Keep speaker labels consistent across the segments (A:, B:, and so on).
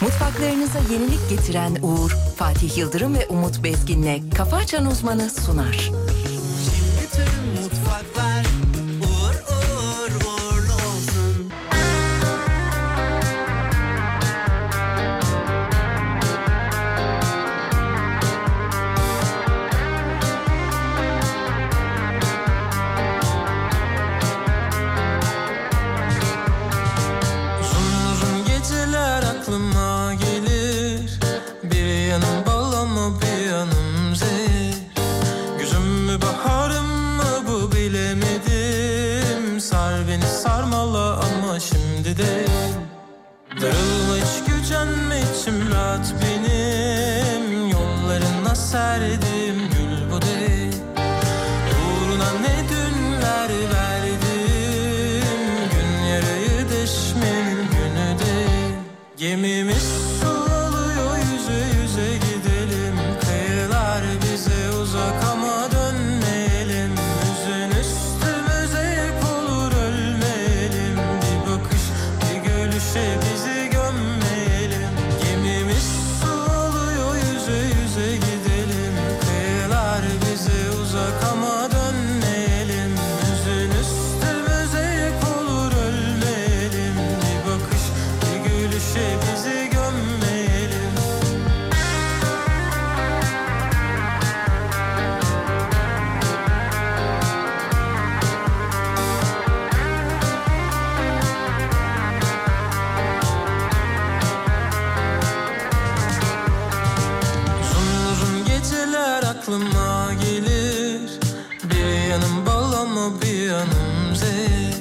A: Mutfaklarınıza yenilik getiren Uğur, Fatih Yıldırım ve Umut Bezgin'le Kafa Açan Uzmanı sunar.
B: Bütün mutfaklar uğur uğur uğurlu olsun. Uzun uzun geceler aklıma gelir Bir yanım bal ama bir yanım zehir Güzüm mü baharım mı bu bilemedim Sar beni sarmala ama şimdi de Darılma hiç gücenme içim rahat benim Yollarına serdim gül bu değil Uğruna ne dünler verdim Gün yarayı deşmenin günü değil Gemimiz su alıyor yüze yüze gidelim Kıyılar bize uzak ama dönmeyelim Üzün üstümüze yük olur ölmeyelim Bir bakış bir gülüşe bizi gömmeyelim Gemimiz su alıyor yüze yüze gidelim Kıyılar bize uzak ama dönmeyelim Üzün üstümüze yük olur ölmeyelim Bir bakış bir gülüşe bizi gömmeyelim Uzun uzun geceler aklıma gelir Bir yanım bal ama bir yanım zehir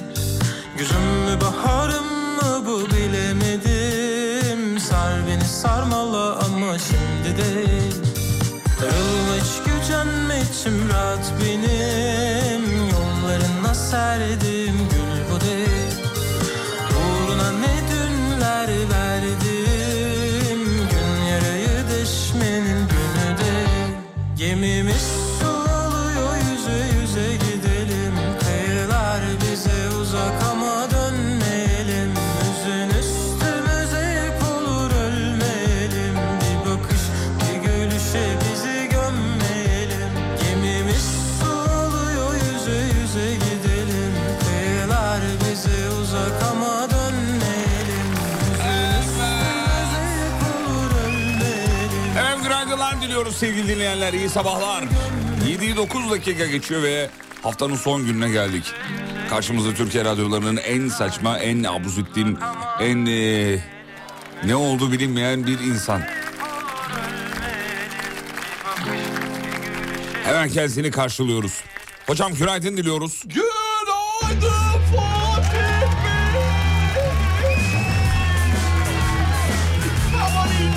B: Güzüm mü baharım mı bu bilemedim Sar beni sarmala ama şimdi değil Darılma hiç gücenme içim rahat benim Yollarına serdim gül bu değil Uğruna ne dünler verdim Gün yarayı deşmenin günü de Gemimiz su alıyor yüze yüze gidelim Kıyılar bize uzak ama dönmeyelim Üzün üstümüze yük olur ölmeyelim Bir bakış bir gülüşe bizi gömmeyelim Gemimiz su alıyor yüze yüze gidelim Kıyılar bize uzak ama dönmeyelim Üzün üstümüze yük olur ölmeyelim
C: Efendim günaydınlar diliyoruz sevgili dinleyenler. İyi sabahlar. 7'yi 9 dakika geçiyor ve haftanın son gününe geldik. Karşımızda Türkiye radyolarının en saçma, en abuzittin, en e, eee, ne oldu bilinmeyen bir insan. Hemen kendisini karşılıyoruz. Hocam günaydın diliyoruz.
B: Günaydın Fatih Bey. Sabahleyin.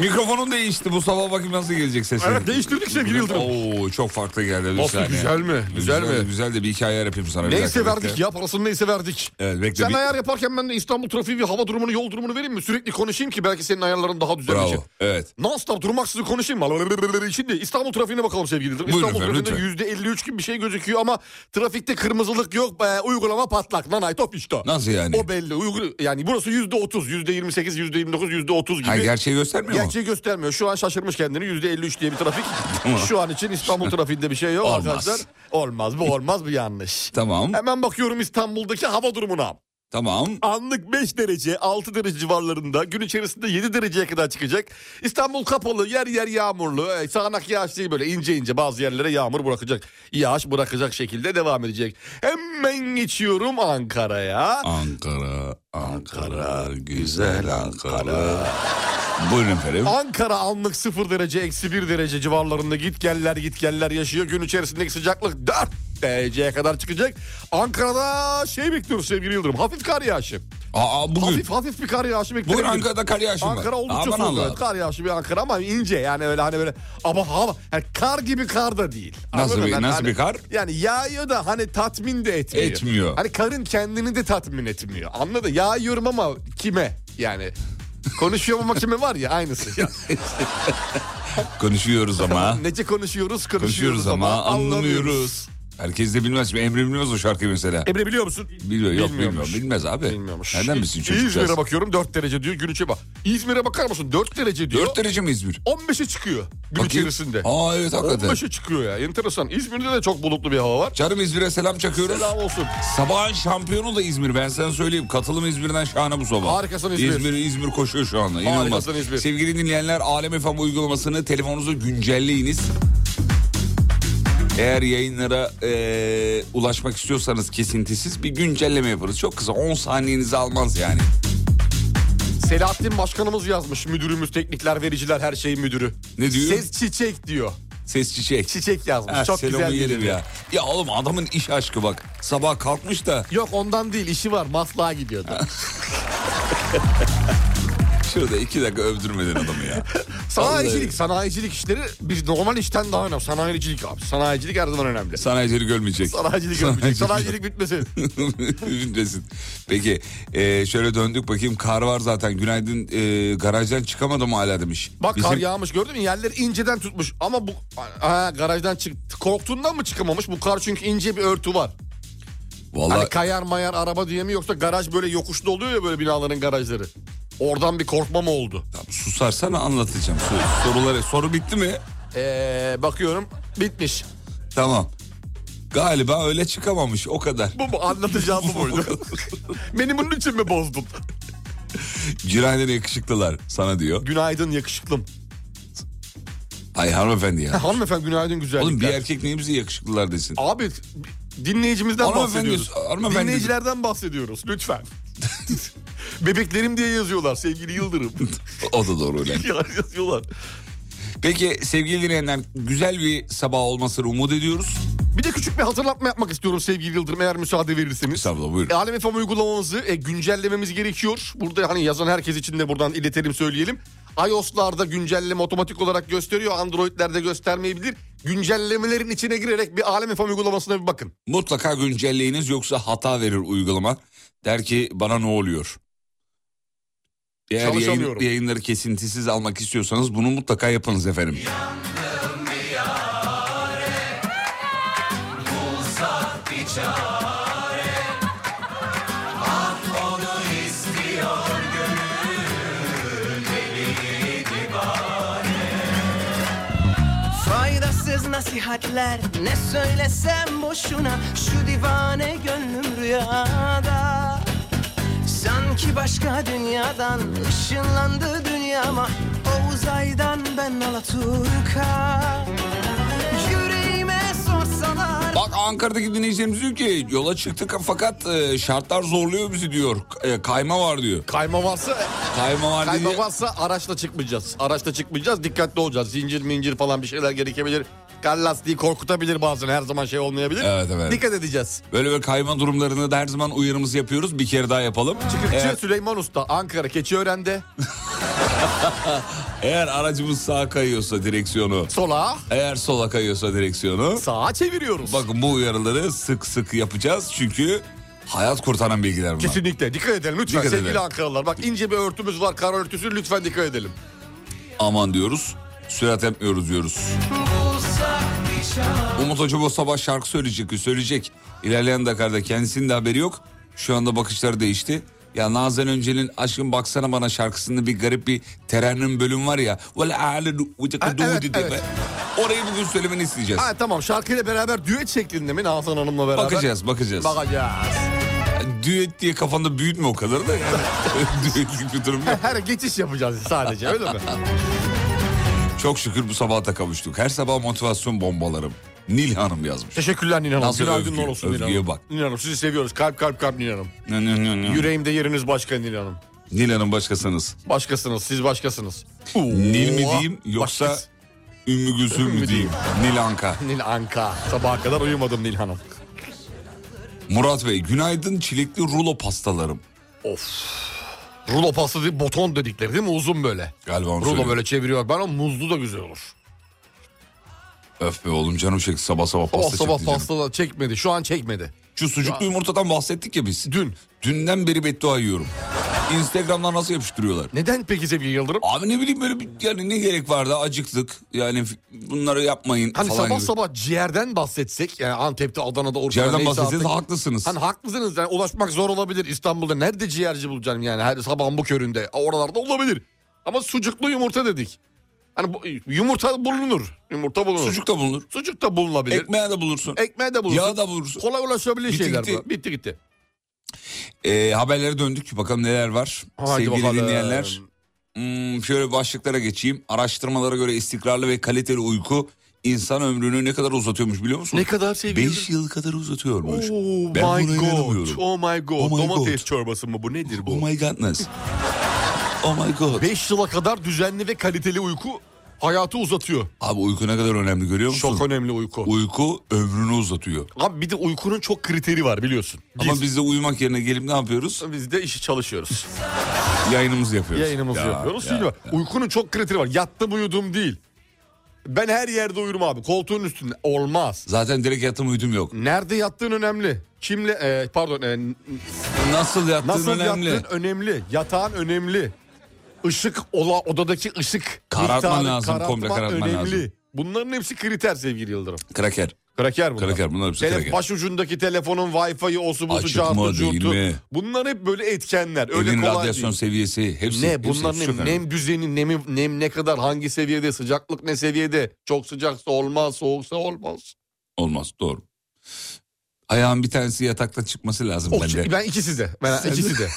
C: Mikrofonun değişti. Bu sabah bakayım nasıl gelecek sesin.
D: Evet, değiştirdik sevgili Yıldırım.
C: Oo, çok farklı geldi. bir
D: Nasıl,
C: saniye.
D: güzel mi? Güzel mi?
C: Güzel de bir hikaye yapayım sana. bir
D: Neyse
C: dakika,
D: verdik
C: bekle.
D: ya parasını neyse verdik.
C: Evet bekle.
D: Sen
C: bir-
D: ayar yaparken ben de İstanbul trafiği ve hava durumunu, yol durumunu vereyim mi? Sürekli konuşayım ki belki senin ayarların daha düzenleyecek.
C: Bravo. Evet.
D: Non stop durmaksızın konuşayım mı? Şimdi İstanbul trafiğine bakalım sevgili Yıldırım.
C: Buyurun
D: İstanbul
C: efendim,
D: trafiğinde yüzde 53 gibi bir şey gözüküyor ama trafikte kırmızılık yok. Ee, uygulama patlak. Nanay top işte.
C: Nasıl yani?
D: O belli. Uygu- yani burası yüzde 30, yüzde 28, yüzde 29, yüzde 30 gibi.
C: Ha, gerçeği göstermiyor mu?
D: Gerçeği göstermiyor. Şu an şaşırmış kendini. Yüzde 53 diye bir trafik.
C: Tamam.
D: Şu an için İstanbul trafiğinde bir şey yok
C: Olmaz.
D: arkadaşlar. Olmaz. Bu olmaz. Bu yanlış.
C: Tamam.
D: Hemen bakıyorum İstanbul'daki hava durumuna.
C: Tamam.
D: Anlık 5 derece, 6 derece civarlarında. Gün içerisinde 7 dereceye kadar çıkacak. İstanbul kapalı, yer yer yağmurlu. e, Sağanak yağış değil böyle ince ince bazı yerlere yağmur bırakacak. Yağış bırakacak şekilde devam edecek. Hemen geçiyorum Ankara'ya.
C: Ankara, Ankara, güzel Ankara. Buyurun efendim.
D: Ankara anlık 0 derece eksi 1 derece civarlarında git geller git geller yaşıyor. Gün içerisindeki sıcaklık 4 dereceye kadar çıkacak. Ankara'da şey bekliyoruz sevgili Yıldırım. Hafif kar yağışı.
C: Aa, bugün.
D: Hafif hafif bir kar yağışı bekliyoruz.
C: Bugün Ankara'da kar yağışı var.
D: Ankara oldukça
C: Aman
D: soğuk.
C: Allah.
D: evet. Kar yağışı bir Ankara ama ince yani öyle hani böyle ama hava yani kar gibi kar da değil.
C: Nasıl
D: Anladın
C: bir-
D: mı?
C: nasıl
D: Hani-
C: bir kar?
D: Yani yağıyor da hani tatmin de etmiyor.
C: Etmiyor.
D: Hani karın kendini de tatmin etmiyor. Anladın? Yağıyorum ama kime yani? Konuşuyorum ama kime var ya aynısı. Ya.
C: Konuşuyoruz ama.
D: Nece konuşuyoruz konuşuyoruz,
C: Konuşuyoruz ama Ah. anlamıyoruz. Herkes de bilmez. Şimdi Emre bilmez o şarkıyı mesela.
D: Emre biliyor musun?
C: Biliyor yok
D: Bilmiyormuş.
C: bilmiyor. Bilmez abi.
D: Bilmiyormuş.
C: Nereden bilsin çocukcağız?
D: İzmir'e bakıyorum 4 derece diyor gün içe bak. İzmir'e bakar mısın 4 derece diyor.
C: 4 derece mi İzmir?
D: 15'e çıkıyor gün
C: Bakayım.
D: içerisinde.
C: Aa evet hakikaten.
D: 15'e çıkıyor ya enteresan. İzmir'de de çok bulutlu bir hava var.
C: Canım İzmir'e selam çakıyoruz.
D: Selam olsun.
C: Sabahın şampiyonu da İzmir ben sana söyleyeyim. Katılım İzmir'den şahane bu sabah.
D: Harikasın İzmir.
C: İzmir, İzmir koşuyor şu anda. İnanılmaz.
D: Harikasın İzmir.
C: Sevgili dinleyenler Alem FM uygulamasını telefonunuza güncelleyiniz. Eğer yayınlara eee, ulaşmak istiyorsanız kesintisiz bir güncelleme yaparız. Çok kısa 10 saniyenizi almaz yani.
D: Selahattin Başkanımız yazmış müdürümüz teknikler vericiler her şeyin müdürü.
C: Ne diyor?
D: Ses çiçek diyor.
C: Ses çiçek.
D: Çiçek yazmış
C: Ha,
D: çok
C: selamı
D: güzel
C: yerim
D: geliyor.
C: ya. Ya oğlum adamın iş aşkı bak. Sabah kalkmış da
D: Yok ondan değil işi var maslağa gidiyordu.
C: şurada iki dakika övdürmedin adamı ya.
D: sanayicilik sanayicilik işleri bir normal işten daha önemli. Sanayicilik abi sanayicilik her zaman önemli.
C: Sanayicilik ölmeyecek.
D: Sanayicilik önemli. Sanayicilik bitmesin.
C: Üzülmesin. Peki e, şöyle döndük bakayım kar var zaten günaydın e, garajdan çıkamadım hala demiş.
D: Bak
C: Bizim-
D: kar yağmış gördün mü? Yerleri inceden tutmuş. Ama bu ha, garajdan çıktı. Korktuğundan mı çıkamamış? Bu kar çünkü ince bir örtü var.
C: Vallahi
D: Hani kayar mayar araba diye mi yoksa garaj böyle yokuşlu oluyor ya böyle binaların garajları. Oradan bir korkma mı oldu?
C: Ya susarsana anlatacağım. Sor- soruları soru bitti mi?
D: Ee, bakıyorum bitmiş.
C: Tamam. Galiba öyle çıkamamış o kadar.
D: Bu mu? Anlatacağım bu buydu. Beni bunun için mi bozdun?
C: Günaydın yakışıklılar sana diyor.
D: Günaydın yakışıklım.
C: Ay hanımefendi ya.
D: Hanımefendi günaydın güzellikler.
C: Oğlum bir erkek niye bize yakışıklılar desin?
D: Abi dinleyicimizden
C: Hanımefendi-
D: bahsediyoruz.
C: hanımefendi-
D: Dinleyicilerden bahsediyoruz lütfen. Bebeklerim diye yazıyorlar sevgili Yıldırım.
C: O da doğru öyle.
D: yazıyorlar.
C: Peki sevgili dinleyenler güzel bir sabah olmasını umut ediyoruz.
D: Bir de küçük bir hatırlatma yapmak istiyorum sevgili Yıldırım eğer müsaade verirseniz.
C: Sabah buyur.
D: E, Alem FM uygulamamızı e, güncellememiz gerekiyor. Burada hani yazan herkes için de buradan iletelim söyleyelim. iOS'larda güncelleme otomatik olarak gösteriyor. Android'lerde göstermeyebilir. Güncellemelerin içine girerek bir Alem FM uygulamasına bir bakın.
C: Mutlaka güncelleyiniz yoksa hata verir uygulama. Der ki bana ne oluyor? Eğer yayın,
D: Çalışamıyorum.
C: yayınları kesintisiz almak istiyorsanız bunu mutlaka yapınız efendim.
E: Faydasız nasihatler ne söylesem boşuna Şu divane gönlüm rüyada Sanki başka dünyadan ışınlandı dünyama O uzaydan ben Alaturka Yüreğime sorsalar
C: Bak Ankara'daki dinleyicilerimiz diyor ki yola çıktık fakat e, şartlar zorluyor bizi diyor. E, Kayma var diyor.
D: Kayma varsa
C: Kayma var
D: kayma
C: dedi.
D: varsa araçla çıkmayacağız. Araçla çıkmayacağız. Dikkatli olacağız. Zincir mincir falan bir şeyler gerekebilir. Kar lastiği korkutabilir bazen. Her zaman şey olmayabilir.
C: Evet, evet.
D: Dikkat edeceğiz.
C: Böyle böyle kayma durumlarında da her zaman uyarımızı yapıyoruz. Bir kere daha yapalım.
D: Çıkıkçı
C: Eğer,
D: Süleyman Usta Ankara Keçiören'de
C: eğer aracımız sağa kayıyorsa direksiyonu,
D: sola
C: eğer sola kayıyorsa direksiyonu.
D: sağa çeviriyoruz.
C: Bakın bu uyarıları sık sık yapacağız çünkü hayat kurtaran bilgiler bunlar.
D: Kesinlikle dikkat edelim lütfen
C: Dikkat
D: sevgili
C: edelim.
D: Ankaralılar. Bak ince bir örtümüz var kar örtüsü lütfen dikkat edelim.
C: Aman diyoruz, sürat etmiyoruz diyoruz.
E: bulsak bir çare
C: Umut Hoca bu sabah şarkı söyleyecek, söyleyecek. İlerleyen Dakar'da kendisinin de haberi yok. Şu anda bakışları değişti. Ya Nazan Öncel'in Aşkım Baksana Bana şarkısında bir garip bir terennüm bölüm var ya. Vel a'le du- ucaka du-
D: evet,
C: di- di-
D: evet.
C: Orayı bugün söylemeni isteyeceğiz.
D: Ha tamam şarkıyla beraber düet şeklinde mi Nazan Hanım'la beraber?
C: Bakacağız, bakacağız.
D: Bakacağız.
C: Düet diye kafanda büyütme o kadar da yani. Düetlik bir durum yok.
D: Her geçiş yapacağız sadece öyle mi?
C: Çok şükür bu sabaha da kavuştuk. Her sabah motivasyon bombalarım. Nil Hanım yazmış.
D: Teşekkürler Nilan Hanım.
C: Nasıl
D: Günaydın
C: övgü,
D: olsun Nilan
C: övgüye
D: Hanım.
C: bak.
D: Nilan Hanım sizi seviyoruz. Kalp kalp kalp Nilan Hanım.
C: Nö, nö, nö, nö.
D: Yüreğimde yeriniz başka Nilan Hanım.
C: Nil Hanım başkasınız.
D: Başkasınız siz başkasınız.
C: Nil mi
D: Oo,
C: diyeyim yoksa
D: başkası-
C: Ümmü Gülsüm mü diyeyim? Nil Anka.
D: Nil Anka. Sabaha kadar uyumadım Nil Hanım.
C: Murat Bey günaydın çilekli rulo pastalarım.
D: Rulo pastası değil, boton dedikleri değil mi? Uzun böyle.
C: Galiba onu
D: Rulo
C: söylüyor.
D: böyle çeviriyor. Bana muzlu da güzel olur.
C: Öf be oğlum canım çekti sabah sabah pasta
D: Sabah
C: çekti
D: sabah
C: canım.
D: pasta da çekmedi. Şu an çekmedi.
C: Şu sucuklu yumurtadan bahsettik ya biz.
D: Dün.
C: Dünden beri beddua yiyorum. Instagram'dan nasıl yapıştırıyorlar?
D: Neden peki Sevgili Yıldırım?
C: Abi ne bileyim böyle bir, yani ne gerek vardı acıktık yani f- bunları yapmayın
D: Hani
C: falan
D: sabah
C: gibi.
D: sabah ciğerden bahsetsek yani Antep'te, Adana'da, Orkut'ta
C: Ciğerden
D: neyse
C: bahsetseniz
D: artık-
C: haklısınız.
D: Hani haklısınız yani ulaşmak zor olabilir İstanbul'da. Nerede ciğerci bulacağım yani her sabahın bu köründe. Oralarda olabilir. Ama sucuklu yumurta dedik. Hani bu, yumurta bulunur. Yumurta bulunur.
C: Sucuk da bulunur.
D: Sucuk da bulunabilir.
C: Ekmeğe de bulursun.
D: Ekmeğe de bulunur.
C: Yağ da E- bulursun.
D: Kolay ulaşabilir
C: Bitti
D: şeyler
C: gitti.
D: bu. Bitti gitti.
C: Ee, haberlere döndük. Bakalım neler var.
D: Haydi
C: Sevgili
D: bakalım.
C: dinleyenler. Hmm, şöyle başlıklara geçeyim. Araştırmalara göre istikrarlı ve kaliteli uyku insan ömrünü ne kadar uzatıyormuş biliyor musunuz?
D: Ne kadar sevgili.
C: 5 yıl kadar
D: Oh
C: uzatıyormuş.
D: my
C: ben buna
D: god.
C: inanamıyorum.
D: Oh my god.
C: Oh my
D: Domates
C: God.
D: çorbası mı bu nedir
C: Oh
D: bu?
C: my godness. Oh my god.
D: 5 yıla kadar düzenli ve kaliteli uyku hayatı uzatıyor.
C: Abi uyku ne kadar önemli görüyor musun?
D: Çok önemli uyku.
C: Uyku ömrünü uzatıyor.
D: Abi bir de uykunun çok kriteri var biliyorsun. Biz,
C: Ama biz de uyumak yerine gelip ne yapıyoruz?
D: biz de işi çalışıyoruz.
C: Yayınımızı yapıyoruz.
D: Yayınımızı
C: Ya,
D: yapıyoruz.
C: ya,
D: Şimdi bak, Uykunun çok kriteri var. Yattım uyudum değil. Ben her yerde uyurum abi. Koltuğun üstünde. Olmaz.
C: Zaten direkt yattım uyudum yok.
D: Nerede yattığın önemli. Kimle e, pardon e, n-
C: Nasıl yattığın
D: nasıl
C: önemli.
D: yattığın önemli. Yatağın önemli. Işık ola odadaki ışık miktarı,
C: Karartman lazım, komple karartman lazım.
D: Bunların hepsi kriter sevgili Yıldırım.
C: Kraker.
D: Kraker bunlar.
C: Kraker, bunlar hepsi
D: Tele-
C: kraker.
D: Baş ucundaki telefonun Wi-Fi'yi, osu busu,
C: Açık mı,
D: cartı,
C: değil
D: curtu.
C: mi?
D: Bunlar hep böyle etkenler. Öyle
C: Evin
D: kolay
C: radyasyon
D: değil.
C: seviyesi hepsi.
D: Ne
C: hepsi
D: bunların
C: çok
D: nem,
C: önemli.
D: nem düzeni, nemi, nem ne kadar, hangi seviyede, sıcaklık ne seviyede? Çok sıcaksa olmaz, soğuksa olmaz.
C: Olmaz doğru. Ayağın bir tanesi yatakta çıkması lazım
D: O, şey,
C: bende.
D: ben ikisi de. Ben
C: Sen-
D: ikisi de.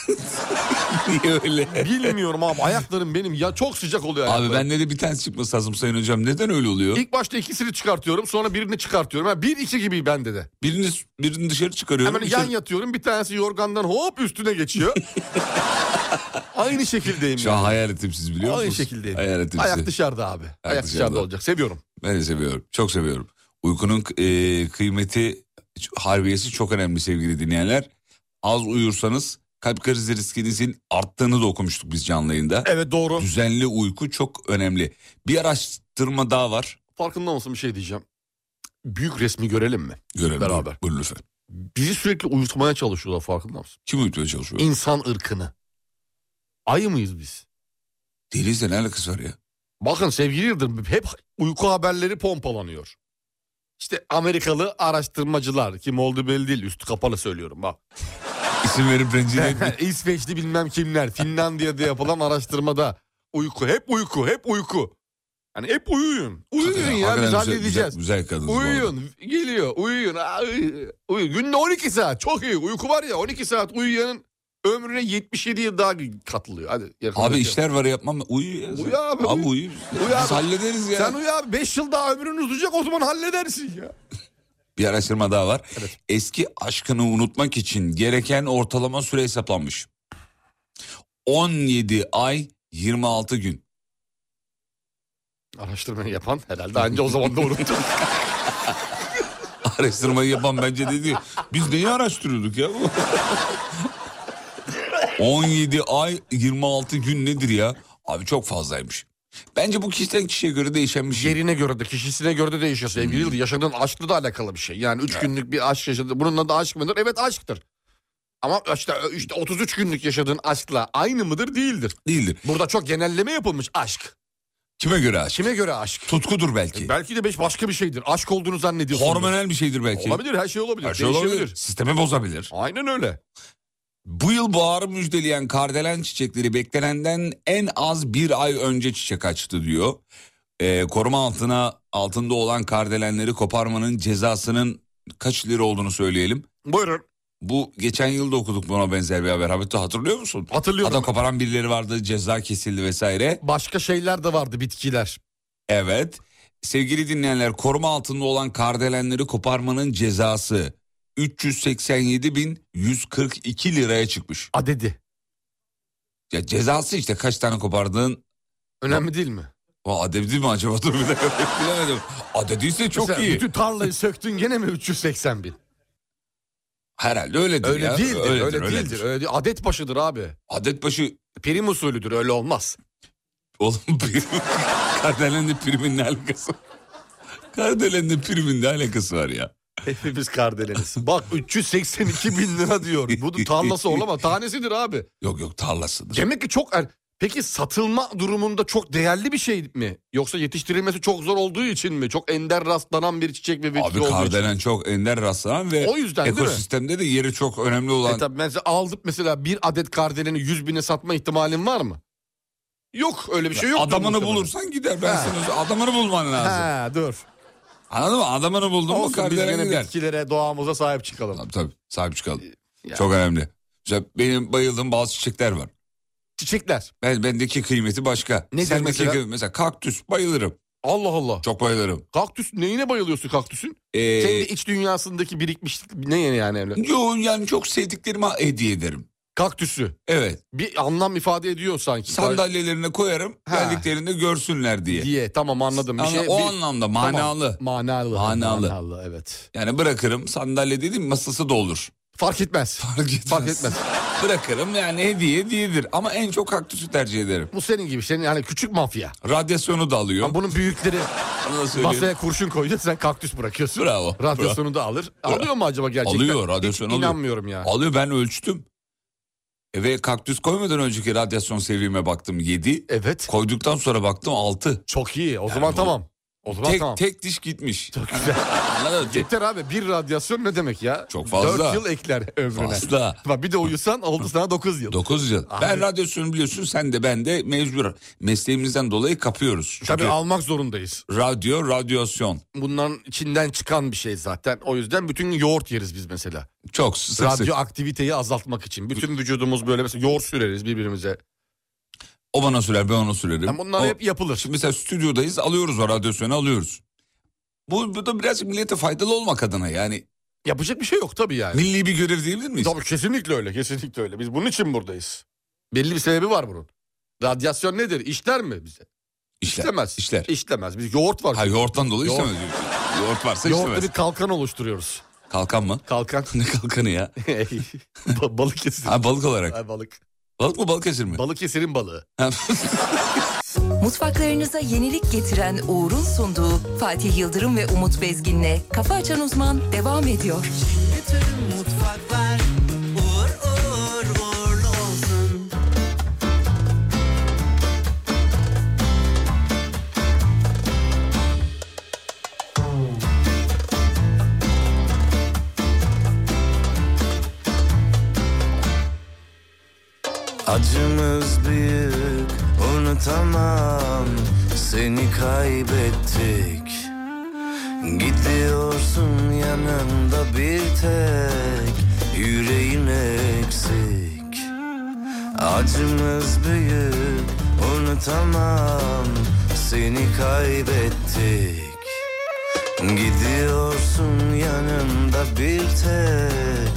C: Niye öyle?
D: Bilmiyorum abi ayaklarım benim ya çok sıcak oluyor
C: Abi
D: ayaklarım.
C: bende de bir tanesi çıkması lazım Sayın Hocam. Neden öyle oluyor?
D: İlk başta ikisini çıkartıyorum sonra birini çıkartıyorum. Ha, bir iki gibi bende de.
C: Birini, birini dışarı çıkarıyorum.
D: Hemen
C: bir
D: yan
C: şey-
D: yatıyorum bir tanesi yorgandan hop üstüne geçiyor. Aynı şekildeyim.
C: Şu an hayal ettim siz biliyor musunuz?
D: Aynı şekildeyim.
C: Hayal ettim sizi.
D: Ayak dışarıda abi. Ayak,
C: Ayak
D: dışarıda.
C: dışarıda.
D: olacak. Seviyorum.
C: Ben de seviyorum. Çok seviyorum. Uykunun e, kıymeti, harbiyesi çok önemli sevgili dinleyenler. Az uyursanız kalp krizi riskinizin arttığını da okumuştuk biz canlı yayında.
D: Evet doğru.
C: Düzenli uyku çok önemli. Bir araştırma daha var.
D: Farkında mısın bir şey diyeceğim. Büyük resmi görelim mi?
C: Görelim.
D: Beraber.
C: Buyurun lütfen.
D: Bizi sürekli uyutmaya çalışıyorlar farkında mısın?
C: Kim uyutmaya çalışıyor?
D: İnsan ırkını. Ayı mıyız biz?
C: Denizle ne alakası var ya?
D: Bakın sevgili Yıldırım hep uyku haberleri pompalanıyor. İşte Amerikalı araştırmacılar kim oldu belli değil üstü kapalı söylüyorum bak.
C: İsim verip rencide etme.
D: İsveçli bilmem kimler Finlandiya'da yapılan araştırmada uyku hep uyku hep uyku. Hani hep uyuyun. Uyuyun ya
C: Hakikaten
D: biz
C: güzel-
D: halledeceğiz.
C: Güzel, güzel kadınız bu arada.
D: Uyuyun geliyor uyuyun. Ay, uyuyun. Günde 12 saat çok iyi uyku var ya 12 saat uyuyanın ömrüne 77 yıl daha katılıyor. Hadi yakında
C: Abi
D: şey-
C: işler var yapmam. Uyu ya.
D: Uyu abi,
C: Abi
D: uyu.
C: uyu.
D: Uyu
C: Biz
D: abi.
C: hallederiz ya.
D: Sen uyu abi 5 yıl daha ömrün uzayacak o zaman halledersin ya.
C: Bir araştırma daha var.
D: Evet.
C: Eski aşkını unutmak için gereken ortalama süre hesaplanmış. 17 ay 26 gün.
D: Araştırmayı yapan herhalde anca o zaman da unuttu.
C: Araştırmayı yapan bence dedi. Biz neyi araştırıyorduk ya? 17 ay 26 gün nedir ya? Abi çok fazlaymış. Bence bu kişiden kişiye göre değişen bir şey.
D: Yerine göre de kişisine göre de değişiyor sevgili Yıldırım. Yaşadığın aşkla da alakalı bir şey. Yani 3 günlük bir aşk yaşadın. Bunun adı aşk mıdır? Evet aşktır. Ama işte, işte 33 günlük yaşadığın aşkla aynı mıdır? Değildir.
C: değildir.
D: Burada çok genelleme yapılmış aşk.
C: Kime göre aşk?
D: Kime göre aşk?
C: Tutkudur belki.
D: E, Belki de beş başka bir şeydir. Aşk olduğunu zannediyorsun.
C: Hormonal bir şeydir belki.
D: Olabilir her şey olabilir.
C: Her şey
D: Değişebilir.
C: olabilir. Sistemi bozabilir.
D: Aynen öyle.
C: Bu yıl baharı müjdeleyen kardelen çiçekleri beklenenden en az bir ay önce çiçek açtı diyor. Ee, koruma altına altında olan kardelenleri koparmanın cezasının kaç lira olduğunu söyleyelim.
D: Buyurun.
C: Bu geçen yıl da okuduk buna benzer bir haber. Hatta hatırlıyor musun?
D: Hatırlıyorum.
C: Adam koparan birileri vardı ceza kesildi vesaire.
D: Başka şeyler de vardı bitkiler.
C: Evet. Sevgili dinleyenler koruma altında olan kardelenleri koparmanın cezası 387.142 liraya çıkmış.
D: Adedi.
C: Ya cezası işte kaç tane kopardığın
D: Önemli değil mi?
C: Aa, adedi mi acaba dur bir dakika bilemedim. Adediyse çok
D: Mesela
C: iyi.
D: Bütün tarlayı söktün gene mi 380 bin?
C: Herhalde öyledir
D: Öyle
C: ya.
D: değildir.
C: Öyledir,
D: öyle
C: öyledir.
D: değildir. Öyle değil. Adet başıdır abi.
C: Adet başı
D: Prim usulüdür öyle olmaz.
C: oğlum prim. Kardelen'in de primin ne alakası? Kardelen'in de primin ne alakası var ya?
D: Hepimiz Kardelen'iz. Bak 382 bin lira diyor. Bu da tarlası olamaz. Tanesidir abi.
C: Yok yok tarlasıdır.
D: Demek ki çok... er- Peki satılma durumunda çok değerli bir şey mi? Yoksa yetiştirilmesi çok zor olduğu için mi? Çok ender rastlanan bir çiçek ve bitki
C: Abi
D: olduğu için.
C: kardelen çok ender rastlanan ve
D: O yüzden değil mi?
C: ekosistemde de yeri çok önemli
D: E
C: olan.
D: tabii ben size aldım mesela bir adet kardeleni 100 bine satma ihtimalin var mı? Yok öyle bir şey yok.
C: adamını
D: muhtemelen.
C: bulursan gider. Ben sana söyleyeyim. adamını bulman lazım.
D: He dur.
C: Anladın mı? Adamını buldun mu
D: Olsun, biz
C: kardelen
D: gene
C: gider.
D: bitkilere doğamıza sahip çıkalım.
C: Tabii tabii sahip çıkalım. Çok önemli. Mesela benim bayıldığım bazı çiçekler var.
D: Çiçekler.
C: Ben bendeki kıymeti başka.
D: Nedir
C: Sendeki
D: mesela?
C: kıymeti- mesela kaktüs bayılırım.
D: Allah Allah.
C: Çok bayılırım.
D: Kaktüs neyine bayılıyorsun kaktüsün?
C: Ee,
D: Kendi iç dünyasındaki birikmişlik ne yani öyle?
C: Yoğun yani çok sevdiklerime hediye ederim.
D: Kaktüsü.
C: Evet.
D: Bir anlam ifade ediyor sanki.
C: Sandalyelerine koyarım.
D: Ha.
C: Geldiklerinde görsünler diye.
D: diye tamam anladım. Bir
C: Anla-
D: şey,
C: o
D: bir-
C: anlamda
D: Tamam.
C: manalı.
D: Manalı.
C: Manalı.
D: evet.
C: Yani bırakırım sandalye dedim masası da olur.
D: Fark etmez.
C: Fark etmez.
D: Fark etmez.
C: bırakırım yani hediye hediyedir. Ama en çok kaktüsü tercih ederim.
D: Bu senin gibi senin yani küçük mafya.
C: Radyasyonu da alıyor.
D: Ama bunun büyükleri
C: Onu da söyleyeyim.
D: masaya kurşun koydu sen kaktüs bırakıyorsun.
C: Bravo.
D: Radyasyonu da alır. Alıyor mu acaba gerçekten?
C: Alıyor radyasyon
D: Hiç
C: alıyor.
D: inanmıyorum ya.
C: Alıyor ben ölçtüm. E Ve kaktüs koymadan önceki radyasyon seviyeme baktım 7.
D: Evet.
C: Koyduktan sonra baktım 6.
D: Çok iyi. O zaman
C: bu-
D: tamam. O zaman
C: Tek,
D: tamam.
C: tek diş gitmiş.
D: Çok güzel.
C: Anladın mı? Tek-
D: Yeter abi bir radyasyon ne demek ya?
C: Çok
D: 4
C: fazla.
D: yıl ekler ömrüne.
C: Fazla.
D: Bak bir de uyusan oldu sana 9 yıl.
C: 9 yıl.
D: Abi-
C: Ben radyasyonu biliyorsun sen de ben de mecbur. Mesleğimizden dolayı kapıyoruz. Çünkü
D: Tabii almak zorundayız.
C: radyo, radyasyon.
D: Bunların içinden çıkan bir şey zaten. O yüzden bütün gün yoğurt yeriz biz mesela.
C: Çok sık sık.
D: Radyoaktiviteyi azaltmak için. Bütün vücudumuz böyle mesela yoğurt süreriz birbirimize.
C: O bana sürer ben ona sürerim.
D: Yani bunlar
C: O-
D: hep yapılır.
C: Şimdi mesela stüdyodayız alıyoruz o radyasyonu alıyoruz. Bu, bu da birazcık millete faydalı olmak adına yani.
D: Yapacak bir şey yok tabii yani.
C: Milli bir görev diyebilir miyiz?
D: Tabii kesinlikle öyle, kesinlikle öyle. Biz bunun için buradayız. Belli bir sebebi var bunun. Radyasyon nedir? İşler mi bize?
C: İşler.
D: İşlemez.
C: İşler.
D: İşlemez. Biz yoğurt var.
C: Ha yoğurttan dolayı
D: Yoğurt.
C: istemez. Yoğurt varsa
D: Yoğurtla
C: istemez.
D: bir kalkan oluşturuyoruz.
C: Kalkan mı?
D: Kalkan.
C: ne kalkanı ya?
D: Ba- Balıkesir.
C: Ha balık olarak.
D: Ay, balık.
C: Balık mı balık esir mi?
D: Balıkesir'in balığı.
C: Ha,
A: Mutfaklarınıza yenilik getiren Uğur'un sunduğu Fatih Yıldırım ve Umut Bezgin'le Kafa Açan Uzman devam ediyor.
E: Bütün mutfaklar uğur uğur uğurlu olsun.
F: Acımız büyük unutamam seni kaybettik Gidiyorsun yanımda bir tek yüreğim eksik Acımız büyük unutamam seni kaybettik Gidiyorsun yanımda bir tek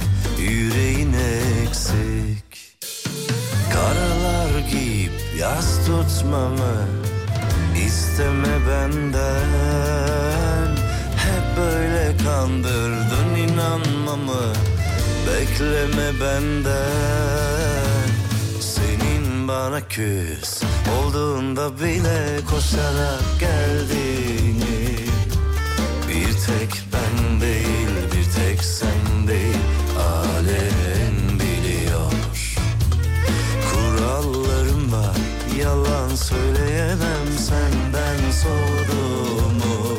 F: yüreğin eksik Karalar giyip yaz tutmamı isteme benden Hep böyle kandırdın inanmamı bekleme benden Senin bana küs olduğunda bile koşarak geldiğini bir tek ben değil, bir tek sen değil Alem biliyor Kurallarım var, yalan söyleyemem Senden soğuduğumu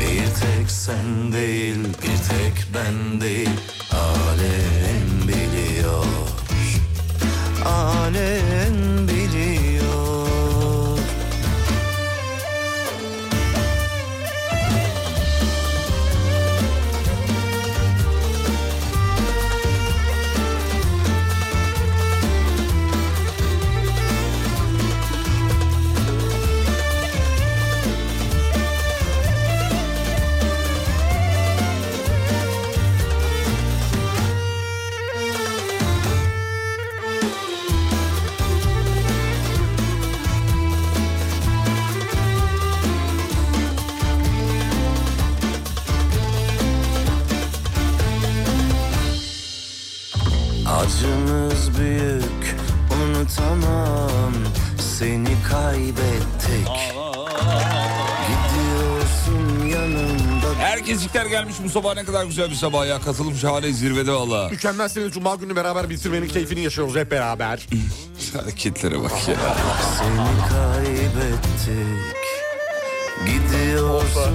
F: Bir tek sen değil, bir tek ben değil Alem biliyor Alem biliyor Acımız büyük unutamam seni kaybettik Gidiyorsun yanımda bir
C: Herkeslikler gelmiş bu sabah ne kadar güzel bir sabah ya. Katılım şahane zirvede valla.
D: Mükemmelsiniz. Cuma günü beraber bitirmenin keyfini yaşıyoruz hep beraber.
C: Hareketlere bak ya.
F: Seni kaybettik Gidiyorsun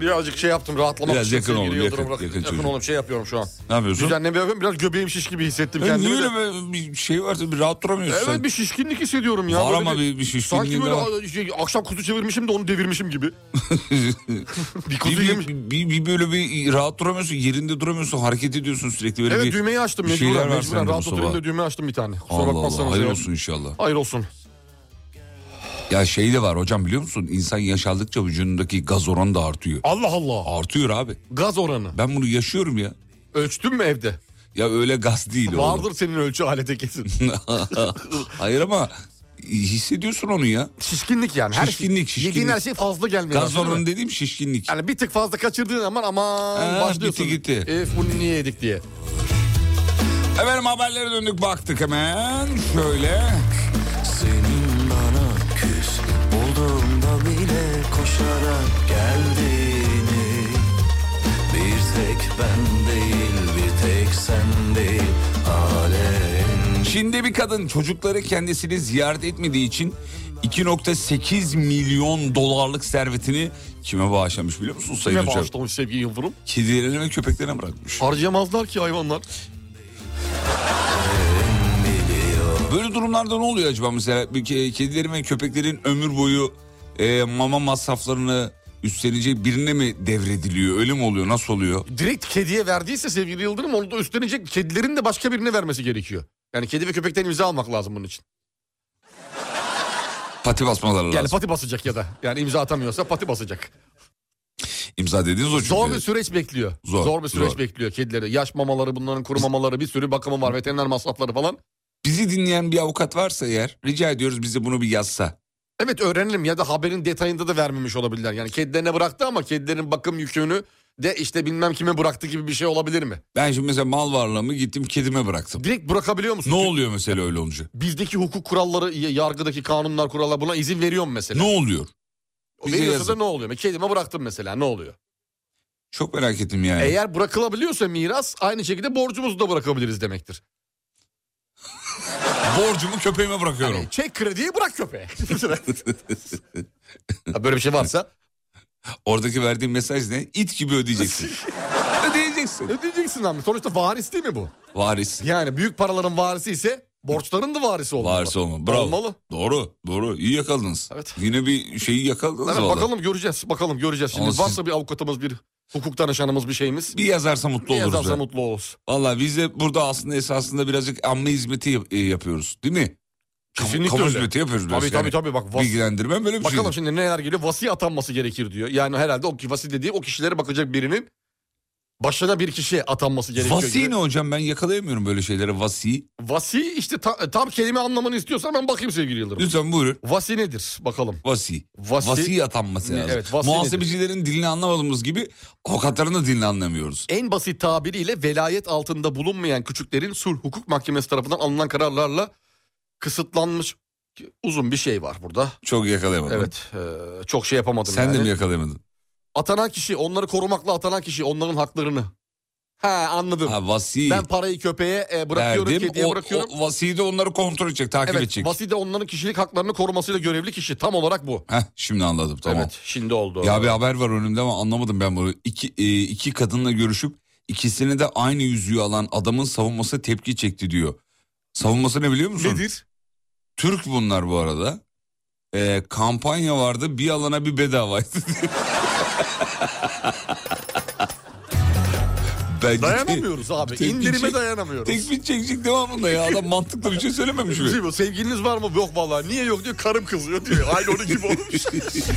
D: Birazcık şey yaptım rahatlamak
C: Biraz
D: için
C: yakın
D: sevgili
C: oğlum,
D: Yıldırım
C: yakın,
D: Rakı-
C: yakın
D: yakın
C: çocuk.
D: oğlum şey yapıyorum şu an.
C: Ne yapıyorsun?
D: Düzenleme yapıyorum biraz göbeğim şiş gibi hissettim
C: Ya E, niye
D: kendimi. de.
C: öyle böyle bir şey vardı bir rahat duramıyorsun
D: Evet
C: sen?
D: bir şişkinlik hissediyorum ya.
C: Var
D: Böyle
C: ama bir- bir şişkinliğin
D: Sanki böyle
C: de var.
D: a- şey, akşam kuzu çevirmişim de onu devirmişim gibi. bir kuzu
C: bir,
D: yemiş.
C: bir, bir, bir böyle bir rahat duramıyorsun, yerinde duramıyorsun, hareket ediyorsun sürekli böyle
D: Evet
C: bir...
D: düğmeyi açtım
C: bir şeyler
D: mecburen.
C: var
D: mecburen.
C: sende bu
D: Rahat oturayım
C: sabah.
D: da düğmeyi açtım bir tane. Kusura
C: Allah Allah,
D: bakmazsanız
C: hayır
D: ya.
C: olsun inşallah.
D: Hayır olsun.
C: Ya şey de var hocam biliyor musun? İnsan yaşaldıkça vücudundaki gaz oranı da artıyor.
D: Allah Allah.
C: Artıyor abi.
D: Gaz oranı.
C: Ben bunu yaşıyorum ya.
D: Ölçtün mü evde?
C: Ya öyle gaz değil oğlum.
D: Vardır senin ölçü aleti kesin.
C: Hayır ama hissediyorsun onu ya.
D: şişkinlik yani. Her
C: Şişkinlik,
D: şey,
C: şişkinlik.
D: Yediğin her şey fazla gelmiyor.
C: Gaz
D: değil mi?
C: oranı dediğim şişkinlik.
D: Yani bir tık fazla kaçırdığın zaman aman
C: Ha,
D: başlıyorsun.
C: bitti gitti.
D: Ef bunu niye yedik diye.
C: Efendim haberlere döndük baktık hemen. Şöyle.
F: Senin bana küs Bulduğumda bile koşarak geldiğini Bir tek ben değil bir tek sen değil Alem
C: Çin'de bir kadın çocukları kendisini ziyaret etmediği için 2.8 milyon dolarlık servetini kime bağışlamış biliyor musun Sayın
D: Ne
C: Hocam?
D: bağışlamış sevgili Yıldırım?
C: Kedilerine ve köpeklerine bırakmış.
D: Harcayamazlar ki hayvanlar.
C: Böyle durumlarda ne oluyor acaba mesela? Bir ke- Kedilerin ve köpeklerin ömür boyu e, mama masraflarını üstlenecek birine mi devrediliyor? Öyle mi oluyor? Nasıl oluyor?
D: Direkt kediye verdiyse sevgili Yıldırım onu da üstlenecek kedilerin de başka birine vermesi gerekiyor. Yani kedi ve köpekten imza almak lazım bunun için.
C: Pati basmaları lazım.
D: Yani pati basacak ya da. Yani imza atamıyorsa pati basacak.
C: İmza dediğiniz o çünkü.
D: Zor bir süreç bekliyor.
C: Zor,
D: Zor, bir süreç
C: zor.
D: bekliyor kedileri. Yaş mamaları bunların kuru mamaları bir sürü bakımı var. Veteriner masrafları falan.
C: Bizi dinleyen bir avukat varsa eğer rica ediyoruz bize bunu bir yazsa.
D: Evet öğrenelim ya da haberin detayında da vermemiş olabilirler. Yani kedilerine bıraktı ama kedilerin bakım yükünü de işte bilmem kime bıraktı gibi bir şey olabilir mi?
C: Ben şimdi mesela mal varlığımı gittim kedime bıraktım.
D: Direkt bırakabiliyor musun?
C: Ne oluyor mesela öyle olunca?
D: Bizdeki hukuk kuralları, y- yargıdaki kanunlar, kurallar buna izin veriyor mu mesela?
C: Ne oluyor? bize
D: Veriyorsa da
C: yazın.
D: ne oluyor? Kedime bıraktım mesela ne oluyor?
C: Çok merak ettim yani.
D: Eğer bırakılabiliyorsa miras aynı şekilde borcumuzu da bırakabiliriz demektir.
C: Borcumu köpeğime bırakıyorum.
D: Yani E, çek krediyi bırak köpeğe. Ha, Böyle bir şey varsa
C: Oradaki verdiğim mesaj ne? İt gibi ödeyeceksin. ödeyeceksin.
D: ödeyeceksin abi. Sonuçta varis değil mi bu?
C: Varis.
D: Yani büyük paraların varisi ise borçların da varisi olmalı.
C: Varisi olma. Bravo.
D: Olmalı.
C: Doğru. Doğru. İyi yakaladınız.
D: Evet.
C: Yine bir şeyi yakaladınız
D: Evet,
C: valla.
D: bakalım göreceğiz. Bakalım göreceğiz. Şimdi
C: Ama siz-
D: varsa bir avukatımız, bir hukuk danışanımız bir şeyimiz.
C: Bir yazarsa mutlu
D: Bir
C: oluruz.
D: yazarsa
C: ya.
D: mutlu oluruz.
C: Valla biz de burada aslında esasında birazcık amme hizmeti yap- e, yapıyoruz. Değil mi? Kamu-
D: Kesinlikle
C: Kamu
D: öyle.
C: hizmeti yapıyoruz. biraz
D: Tabii tabii
C: yani.
D: tabii bak. vas-
C: Bilgilendirme böyle bir şey.
D: Bakalım şimdi neler geliyor. Vasi atanması gerekir diyor. Yani herhalde o ki- vasi dediği o kişilere bakacak birinin başına bir kişi atanması gerekiyor.
C: Vasi
D: gibi.
C: ne hocam ben yakalayamıyorum böyle şeylere vasi.
D: Vasi işte ta- tam kelime anlamını istiyorsan ben bakayım sevgili Yıldırım.
C: Lütfen buyurun.
D: Vasi nedir? Bakalım.
C: Vasi.
D: Vasi-
C: Vasi atanması lazım.
D: Evet, vasi
C: Muhasebecilerin dilini anlamadığımız gibi avukatların da dilini anlamıyoruz.
D: En basit tabiriyle velayet altında bulunmayan küçüklerin sulh hukuk mahkemesi tarafından alınan kararlarla kısıtlanmış uzun bir şey var burada.
C: Çok yakalayamadım.
D: Evet. eee, çok şey yapamadım
C: Sen
D: yani.
C: de mi yakalayamadın?
D: Atanan kişi, onları korumakla atanan kişi onların haklarını. Ha anladım.
C: Ha vasi
D: Ben parayı köpeğe e, bırakıyorum,
C: verdim.
D: kediye
C: O,
D: bırakıyorum.
C: o vasiyi de onları kontrol edecek, takip
D: evet,
C: edecek.
D: vasi de onların kişilik haklarını korumasıyla görevli kişi. Tam olarak bu.
C: Heh, şimdi anladım tamam.
D: Evet, şimdi oldu.
C: Ya bir haber var önümde ama anlamadım ben bunu. İki, e, iki kadınla görüşüp ikisini de aynı yüzüğü alan adamın savunması tepki çekti diyor. Savunması ne biliyor musun?
D: Nedir?
C: Türk bunlar bu arada. Ee, kampanya vardı bir alana bir bedavaydı. Bence
D: Dayanamıyoruz abi.
C: Tepki
D: İndirime
C: çek-
D: dayanamıyoruz.
C: Tekbir çekecek devamında ya. Adam mantıklı bir şey söylememiş mi?
D: Şey bu, Sevgiliniz var mı? Yok vallahi. Niye yok diyor. Karım kızıyor diyor. Aynı onun gibi olmuş.
G: Sırça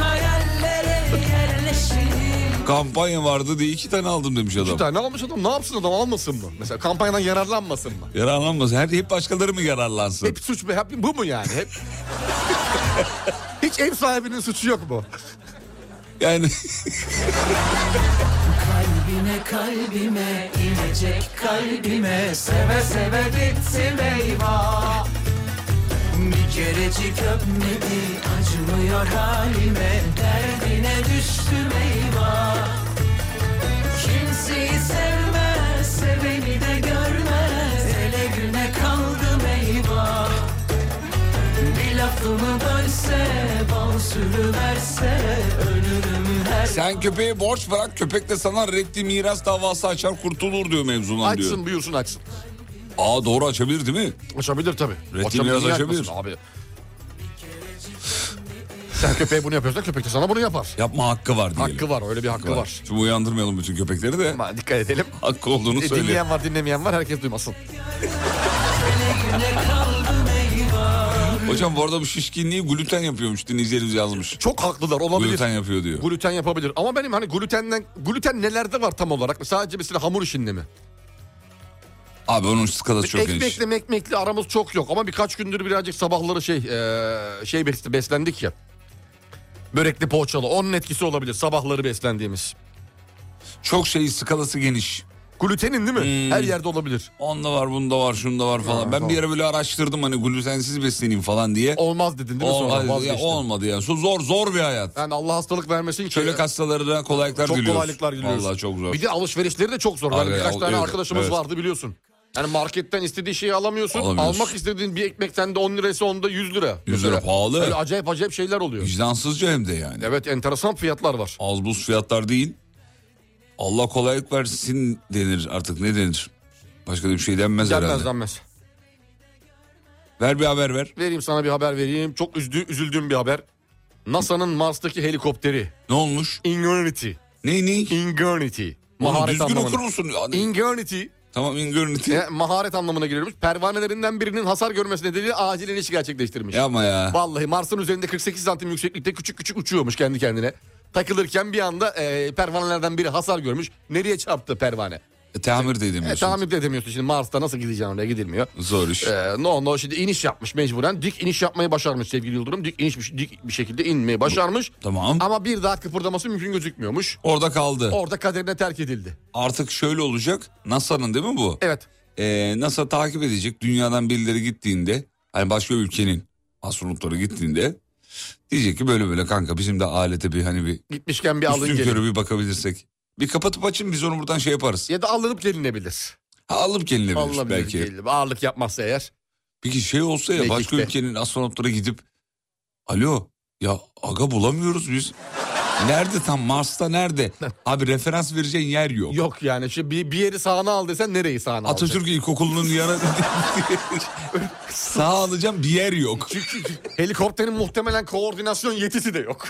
G: hayallere yerleşim
C: Kampanya vardı diye iki tane aldım demiş adam.
D: Bir tane almış adam. Ne yapsın adam? Almasın mı? Mesela kampanyadan yararlanmasın mı?
C: Yararlanmaz. Her hep başkaları mı yararlansın?
D: Hep suç mu? Hep bu mu yani? Hep... Hiç ev sahibinin suçu yok mu?
C: Yani
G: Kalbine kalbime inecek kalbime Seve seve bitsin eyvah Bir Kerecik öpmedi acımıyor halime Derdine düştüm eyvah Kimseyi sevmez seveni de görmez Ele güne kaldım eyvah Bir lafımı bölse bal sürüverse Ölürüm her
C: Sen köpeğe borç bırak köpek de sana reddi miras davası açar kurtulur diyor mevzudan diyor.
D: Açsın buyursun açsın.
C: Aa doğru açabilir değil mi?
D: Açabilir tabii.
C: Üretim
D: Açabilir,
C: biraz
D: niye
C: açabilir.
D: açmasın Abi. Sen köpeğe bunu yapıyorsan köpek de sana bunu yapar.
C: Yapma hakkı var diyelim.
D: Hakkı var öyle bir hakkı var.
C: Şimdi uyandırmayalım bütün köpekleri de
D: Ama dikkat edelim.
C: hakkı olduğunu
D: E,
C: söyle.
D: dinleyen var dinlemeyen var herkes duymasın.
C: Hocam bu arada bu şişkinliği gluten yapıyormuş dinleyicilerimiz yazmış.
D: Çok haklılar olabilir.
C: Gluten yapıyor diyor.
D: Gluten yapabilir. Ama benim hani glutenden gluten nelerde var tam olarak? Sadece mesela hamur işinde mi?
C: Abi onun skalası çok
D: ekmekle
C: geniş.
D: mekmekle aramız çok yok ama birkaç gündür birazcık sabahları şey eee, şey bes- beslendik ya. Börekli poğaçalı onun etkisi olabilir sabahları beslendiğimiz.
C: Çok şey skalası geniş.
D: Glutenin değil
C: Hmm.
D: mi? Her yerde olabilir.
C: Onda var, bunda var, şunda var falan. ben
D: tamam.
C: bir ara böyle araştırdım hani glutensiz besleneyim falan diye.
D: Olmaz dedin değil mi sonra
C: olmadı, ya,
D: vazgeçtin.
C: olmadı ya. Su- Zor zor bir hayat.
D: Yani Allah hastalık vermesin ki.
C: Çölek hastalarına kolaylıklar
D: çok
C: diliyoruz.
D: kolaylıklar diliyoruz.
C: Vallahi çok zor.
D: Bir de alışverişleri de çok zor.
C: Abi,
D: Yani birkaç
C: al-
D: tane
C: evet,
D: arkadaşımız
C: evet.
D: vardı biliyorsun. Yani marketten istediği şeyi alamıyorsun.
C: Alamıyorsun.
D: Almak istediğin bir ekmekten de 10 lirası onda 100 lira.
C: 100 lira
D: Mesela.
C: pahalı.
D: Öyle acayip acayip şeyler oluyor.
C: Vicdansızca hem de yani.
D: Evet enteresan fiyatlar var.
C: Az buz fiyatlar değil. Allah kolaylık versin denir artık ne denir? Başka da bir şey denmez
D: Gelmez
C: herhalde.
D: denmez.
C: Ver bir haber ver.
D: Vereyim sana bir haber vereyim. Çok üzdü, üzüldüğüm bir haber. NASA'nın Mars'taki helikopteri.
C: Ne olmuş?
D: Ingernity.
C: Ne ne?
D: Ingernity.
C: Oğlum
D: Maharet
C: düzgün okur
D: anlamına.
C: musun? Yani-
D: Ingernity.
C: tamam ingörnütü.
D: e, maharet anlamına geliyormuş. Pervanelerinden birinin hasar görmesi nedeniyle acil iniş gerçekleştirmiş.
C: Yapma ya.
D: Vallahi Mars'ın üzerinde 48 santim yükseklikte küçük küçük uçuyormuş kendi kendine. Takılırken bir anda e, pervanelerden biri hasar görmüş. Nereye çarptı pervane?
C: E, Tamir de
D: E,
C: edemiyorsun.
D: tahammül de edemiyorsun şimdi Mars'ta nasıl gideceksin oraya gidilmiyor.
C: Zor iş.
D: E, no no şimdi iniş yapmış mecburen. Dik iniş yapmayı başarmış sevgili Yıldırım. Dik iniş bir- dik bir şekilde inmeyi başarmış.
C: Tamam.
D: Ama bir daha kıpırdaması mümkün gözükmüyormuş.
C: Orada kaldı.
D: Orada kaderine terk edildi.
C: Artık şöyle olacak. NASA'nın değil mi bu?
D: Evet.
C: Ee, NASA takip edecek. Dünyadan birileri gittiğinde hani başka ülkenin astronotları gittiğinde diyecek ki böyle böyle kanka bizim de alete bir hani bir
D: Gitmişken bir alın
C: üstün
D: gelin.
C: körü bir bakabilirsek. Bir kapatıp açın biz onu buradan şey yaparız.
D: Ya da alınıp gelinebilir.
C: Ha, alıp gelinebilir
D: Alınabilir
C: belki.
D: gelinip. Ağırlık yapmazsa eğer.
C: Peki şey olsa ya
D: Mekik'te.
C: başka ülkenin astronotları gidip alo ya aga bulamıyoruz biz. Nerede tam Mars'ta nerede? Abi referans vereceğin yer yok.
D: Yok yani şimdi bir, bir yeri sağına al desen nereyi sağına al?
C: Atatürk İlkokulu'nun yanı sağ alacağım bir yer yok.
D: Helikopterin muhtemelen koordinasyon yetisi de yok.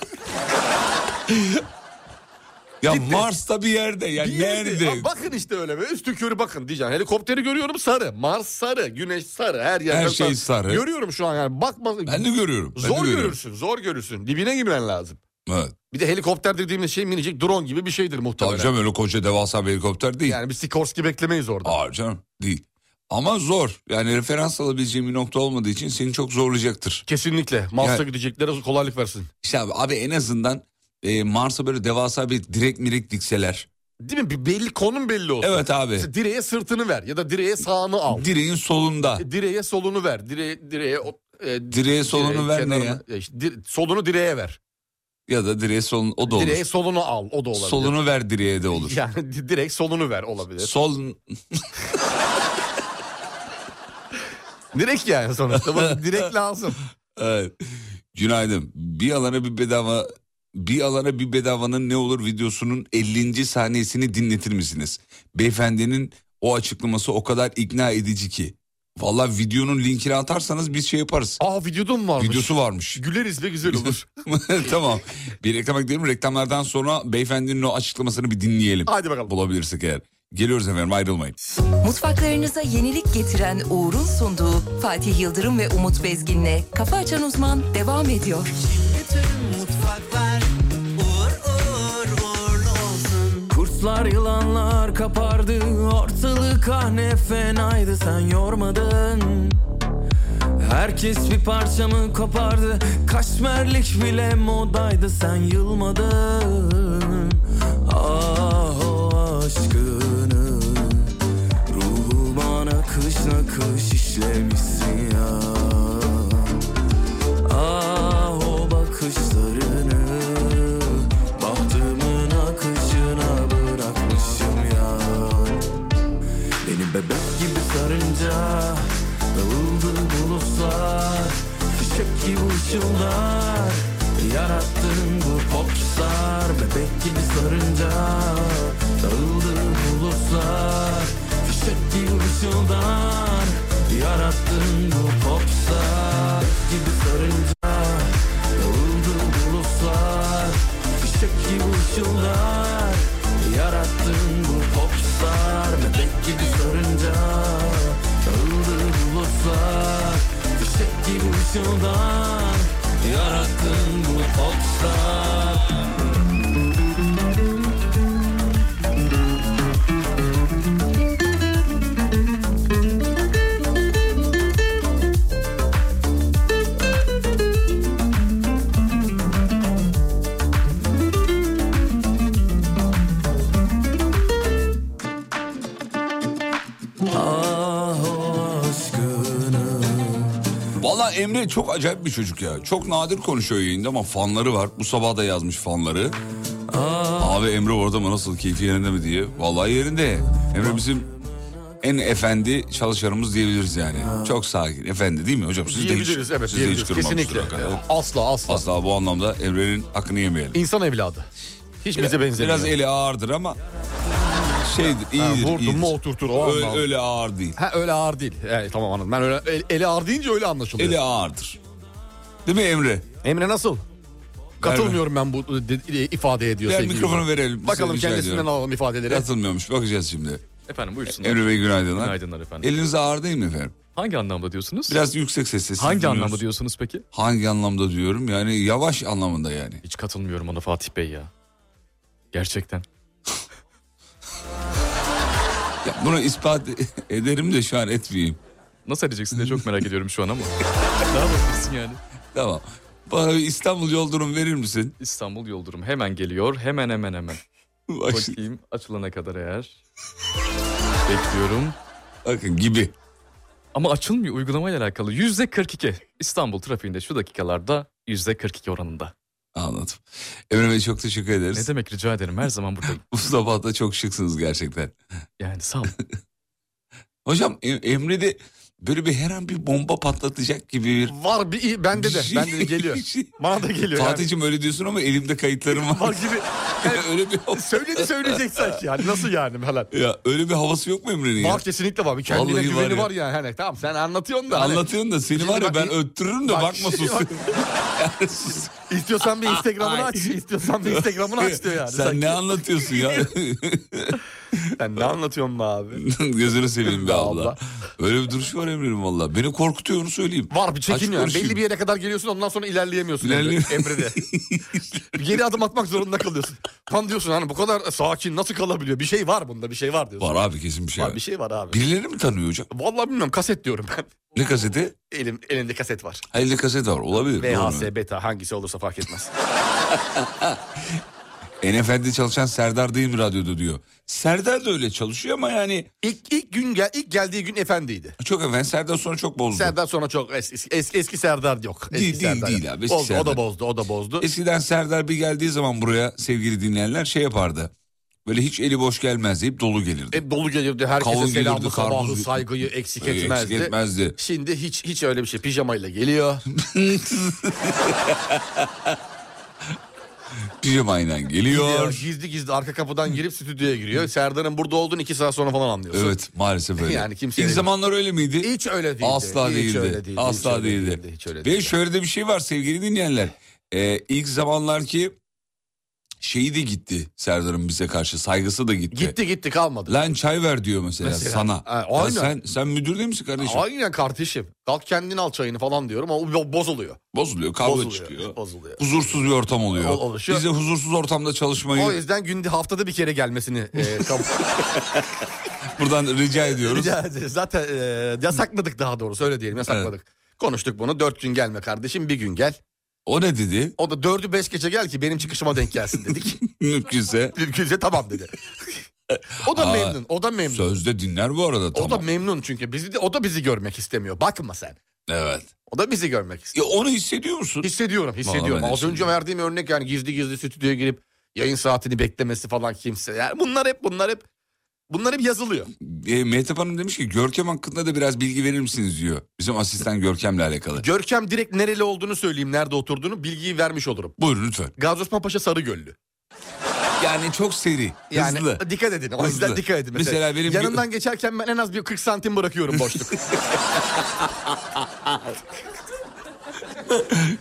C: Ya Mars'ta bir yerde ya
D: Bir yerde-
C: nerede?
D: Ha, bakın işte öyle be üstü körü bakın diyeceğim. Helikopteri görüyorum sarı. Mars sarı. Güneş sarı. Her yer
C: Her şey sarı.
D: Görüyorum şu an yani. Bakma.
C: Ben de görüyorum. ben de
D: zor
C: görüyorum.
D: görürsün. Zor görürsün. Dibine girmen lazım.
C: Evet.
D: Bir de helikopter dediğimiz şey minicik drone gibi bir şeydir
C: Tabii
D: muhtemelen.
C: canım öyle koca devasa bir helikopter değil.
D: Yani bir Sikorsky beklemeyiz orada.
C: Aa canım değil. Ama zor. Yani referans alabileceğim bir nokta olmadığı için seni çok zorlayacaktır.
D: Kesinlikle. Mars'a
C: Yani-
D: gideceklere kolaylık versin.
C: İşte abi, abi en azından e, Mars'a böyle devasa bir direk mirek dikseler.
D: Değil mi? Bir belli konum belli olsun.
C: Evet abi.
D: İşte direğe sırtını ver ya da direğe sağını al.
C: Direğin solunda.
D: E, direğe solunu ver. Direğe direğe o- e,
C: Direğe solunu
D: direğe
C: ver ne
D: kenarına-
C: ya?
D: işte dire- solunu direğe ver.
C: Ya da direğe solun o da olur.
D: Direğe solunu al. O da olabilir.
C: Solunu ver direğe de olur.
D: Yani di- direkt solunu ver olabilir.
C: Sol
D: Direkt yani sonuçta. Bak, direkt lazım.
C: Evet. e, Günaydın. Bir alana bir bedava bir alana bir bedavanın ne olur videosunun 50. saniyesini dinletir misiniz? Beyefendinin o açıklaması o kadar ikna edici ki. Vallahi videonun linkini atarsanız biz şey yaparız.
D: Aa videoda mı varmış?
C: Videosu varmış.
D: Güleriz ve güzel olur.
C: tamam. Bir reklama gidelim. Reklamlardan sonra beyefendinin o açıklamasını bir dinleyelim.
D: Hadi bakalım.
C: Bulabilirsek eğer. Geliyoruz efendim ayrılmayın.
A: Mutfaklarınıza yenilik getiren Uğur'un sunduğu Fatih Yıldırım ve Umut Bezgin'le Kafa Açan Uzman devam ediyor.
E: Bütün mutfaklar uğur uğur uğurlu olsun
B: Kurtlar yılanlar kapardı Ortalık ah ne fenaydı Sen yormadın Herkes bir parçamı kopardı Kaşmerlik bile modaydı Sen yılmadın Ah o aşkını Ruhuma nakış nakış işlemişsin ya
G: Ah, ki bu çıllar Yarattın bu popstar Bebek gibi sarınca Dağıldı bulutlar Fişek gibi ışıldar Yarattın bu popstar Gibi sarınca Dağıldı bulutlar Fişek gibi ışıldar Yarattın bu popstar Bebek gibi sarınca Dağıldı bulutlar Fişek gibi ışıldar Yarattın bu popstar Ah o aşkını
C: Valla Emre çok acayip bir çocuk ya. Çok nadir konuşuyor yayında ama fanları var. Bu sabah da yazmış fanları. Abi Emre orada mı nasıl keyfi yerinde mi diye. Vallahi yerinde. Emre bizim en efendi çalışanımız diyebiliriz yani. Çok sakin. Efendi değil mi hocam? Siz de hiç,
D: Diyebiliriz evet.
C: siz de hiç
D: diyebiliriz.
C: kırmamıştır
D: Kesinlikle.
C: hakikaten.
D: Evet. Asla asla.
C: Asla bu anlamda Emre'nin hakkını yemeyelim.
D: İnsan evladı. Hiç bize benzemiyor.
C: Biraz eli ağırdır ama şeydir,
D: Ha,
C: iyidir.
D: vurdun
C: iyidir.
D: mu oturtur o
C: öyle,
D: anlamda.
C: öyle ağır değil.
D: Ha öyle ağır değil. Evet, tamam anladım. Ben öyle el- eli ağır deyince öyle anlaşılıyor.
C: Eli ağırdır. Değil mi Emre?
D: Emre nasıl? Katılmıyorum ben bu de- de- ifadeye diyor
C: Ver
D: sevgili
C: mikrofonu
D: Yıldırım.
C: verelim.
D: Bakalım
C: Rica
D: kendisinden
C: ediyorum.
D: alalım ifadeleri.
C: Katılmıyormuş. Bakacağız şimdi.
H: Efendim buyursunlar.
C: Emre Bey günaydınlar.
H: Günaydınlar efendim.
C: Eliniz ağır değil mi efendim?
H: Hangi anlamda diyorsunuz?
C: Biraz yüksek sesle sizi
H: Hangi
C: dinliyoruz.
H: anlamda diyorsunuz peki?
C: Hangi anlamda diyorum? Yani yavaş anlamında yani.
H: Hiç katılmıyorum ona Fatih Bey ya. Gerçekten.
C: Ya bunu ispat ederim de şu an etmeyeyim.
H: Nasıl edeceksin diye çok merak ediyorum şu an ama. ne yapabilirsin yani?
C: Tamam. Bana bir İstanbul yol durumu verir misin?
H: İstanbul Yoldurum hemen geliyor. Hemen hemen hemen.
C: Baş-
H: Bakayım açılana kadar eğer. Bekliyorum.
C: Bakın gibi.
H: Ama açılmıyor uygulamayla alakalı. Yüzde 42. İstanbul trafiğinde şu dakikalarda yüzde 42 oranında.
C: Anladım. Emre Bey çok teşekkür
H: Ne
C: ederiz.
H: demek rica ederim her zaman buradayım.
C: Bu sabah da çok şıksınız gerçekten.
H: Yani sağ olun.
C: Hocam Em- Emre'de böyle bir her an bir bomba patlatacak gibi bir...
D: Var bir iyi- bende de. Bende de geliyor. Bana da geliyor. yani.
C: Fatih'cim öyle diyorsun ama elimde kayıtlarım var.
D: Var gibi.
C: öyle bir havası.
D: Söyledi söyleyecek sanki yani. Nasıl yani falan.
C: Ya öyle bir havası yok mu Emre'nin ya?
D: Var kesinlikle var. Bir kendine
C: Vallahi var
D: güveni
C: ya.
D: var, yani. Hani, tamam sen anlatıyorsun da. Hani,
C: Anlatıyorsun da seni var ya
D: Bak-
C: ben öttürürüm de
D: Bak-
C: bakma sus.
D: Bak- İstiyorsan bir Instagram'ını aç. İstiyorsan bir Instagram'ını aç diyor yani.
C: Sen ne anlatıyorsun ya?
D: Sen ne anlatıyorsun be abi?
C: Gözünü seveyim be abla.
D: Abla.
C: Öyle bir duruşu var Emre'nin valla. Beni korkutuyor onu söyleyeyim.
D: Var bir
C: Aç
D: çekin yani.
C: konuşayım.
D: Belli bir yere kadar geliyorsun ondan sonra ilerleyemiyorsun
C: İlerleyem-
D: Emre- Emre'de. Geri adım atmak zorunda kalıyorsun. Tam diyorsun hani bu kadar sakin nasıl kalabiliyor? Bir şey var bunda bir şey var diyorsun.
C: Var abi kesin bir şey.
D: Var, bir şey var abi.
C: Birileri mi tanıyor hocam?
D: Vallahi bilmiyorum kaset diyorum ben.
C: Ne kaseti?
D: Elim, elinde kaset var.
C: Ha, Elde kaset var olabilir.
D: VHS,
C: doğru.
D: beta hangisi olursa fark etmez.
C: En efendi çalışan Serdar değil mi radyoda diyor. Serdar da öyle çalışıyor ama yani
D: ilk, ilk gün gel, ilk geldiği gün efendiydi.
C: çok efendi Serdar sonra çok bozdu.
D: Serdar sonra çok es- es- eski, eski Serdar yok. Eski
C: Değil, değil,
D: Serdar
C: değil
D: yok.
C: abi, eski
D: Bozdu, O
C: Serdar.
D: da bozdu o da bozdu.
C: Eskiden Serdar bir geldiği zaman buraya sevgili dinleyenler şey yapardı. Böyle hiç eli boş gelmez deyip dolu gelirdi.
D: Hep E, dolu gelirdi herkese
C: Kavun gelirdi,
D: selamı sabahı
C: karpuz-
D: saygıyı eksik
C: Eksik
D: etmezdi.
C: etmezdi.
D: Şimdi hiç hiç öyle bir şey pijamayla geliyor.
C: Pijamayla
D: E, Gidiyor,
C: geliyor.
D: Gizli gizli arka kapıdan girip stüdyoya giriyor. Serdar'ın burada olduğunu iki saat sonra falan anlıyorsun.
C: Evet maalesef öyle.
D: Yani kimsenin-
C: İlk zamanlar öyle miydi?
D: Hiç öyle değildi.
C: Asla
D: Hiç
C: değildi.
D: öyle değildi.
C: Asla
D: Hiç öyle
C: değildi.
D: değildi. Hiç öyle
C: Ve
D: değildi.
C: şöyle de bir şey var sevgili dinleyenler. Ee, ilk zamanlar ki şeyi de gitti Serdar'ın bize karşı saygısı da gitti.
D: Gitti gitti kalmadı.
C: Lan çay ver diyor mesela,
D: Mesela.
C: sana.
D: Ha,
C: Ya
D: aynen.
C: sen sen müdür değil misin kardeşim?
D: Aynen kardeşim. Kalk kendin al çayını falan diyorum ama o bozuluyor.
C: Bozuluyor, kavga
D: bozuluyor.
C: çıkıyor.
D: Bozuluyor.
C: Huzursuz bir ortam oluyor.
D: Ol- oluşuyor.
C: Biz de huzursuz ortamda çalışmayı
D: O yüzden günde haftada bir kere gelmesini e, kabul
C: buradan rica ediyoruz.
D: Rica ederiz. Zaten e, yasakladık daha doğrusu öyle diyelim yasakladık. Konuştuk bunu dört gün gelme kardeşim bir gün gel.
C: O ne dedi?
D: O da dördü beş gece gel ki benim çıkışıma denk gelsin dedik.
C: Mümkünse.
D: Mümkünse tamam dedi. o da
C: Aa,
D: memnun o da memnun.
C: Sözde dinler bu arada
D: O
C: tamam.
D: da memnun çünkü bizi de, o da bizi görmek istemiyor. Bakma sen.
C: Evet.
D: O da bizi görmek istiyor.
C: Ya onu hissediyor musun?
D: Hissediyorum, hissediyorum.
C: ben de
D: Az önce
C: hissediyorum.
D: verdiğim örnek yani gizli gizli stüdyoya girip yayın saatini beklemesi falan kimse. Yani bunlar hep bunlar hep Bunlar hep yazılıyor.
C: E, Mehtap Hanım demiş ki Görkem hakkında da biraz bilgi verir misiniz diyor. Bizim asistan Görkem'le alakalı.
D: Görkem direkt nereli olduğunu söyleyeyim, nerede oturduğunu bilgiyi vermiş olurum.
C: Buyurun lütfen.
D: Gazi Osman Paşa Sarıgöllü.
C: Yani çok seri,
D: Yani
C: hızlı.
D: dikkat edin. O yüzden
C: Hızlı.
D: dikkat edin. Mesela,
C: Mesela benim-
D: yanından geçerken ben en az bir 40 santim bırakıyorum boşluk.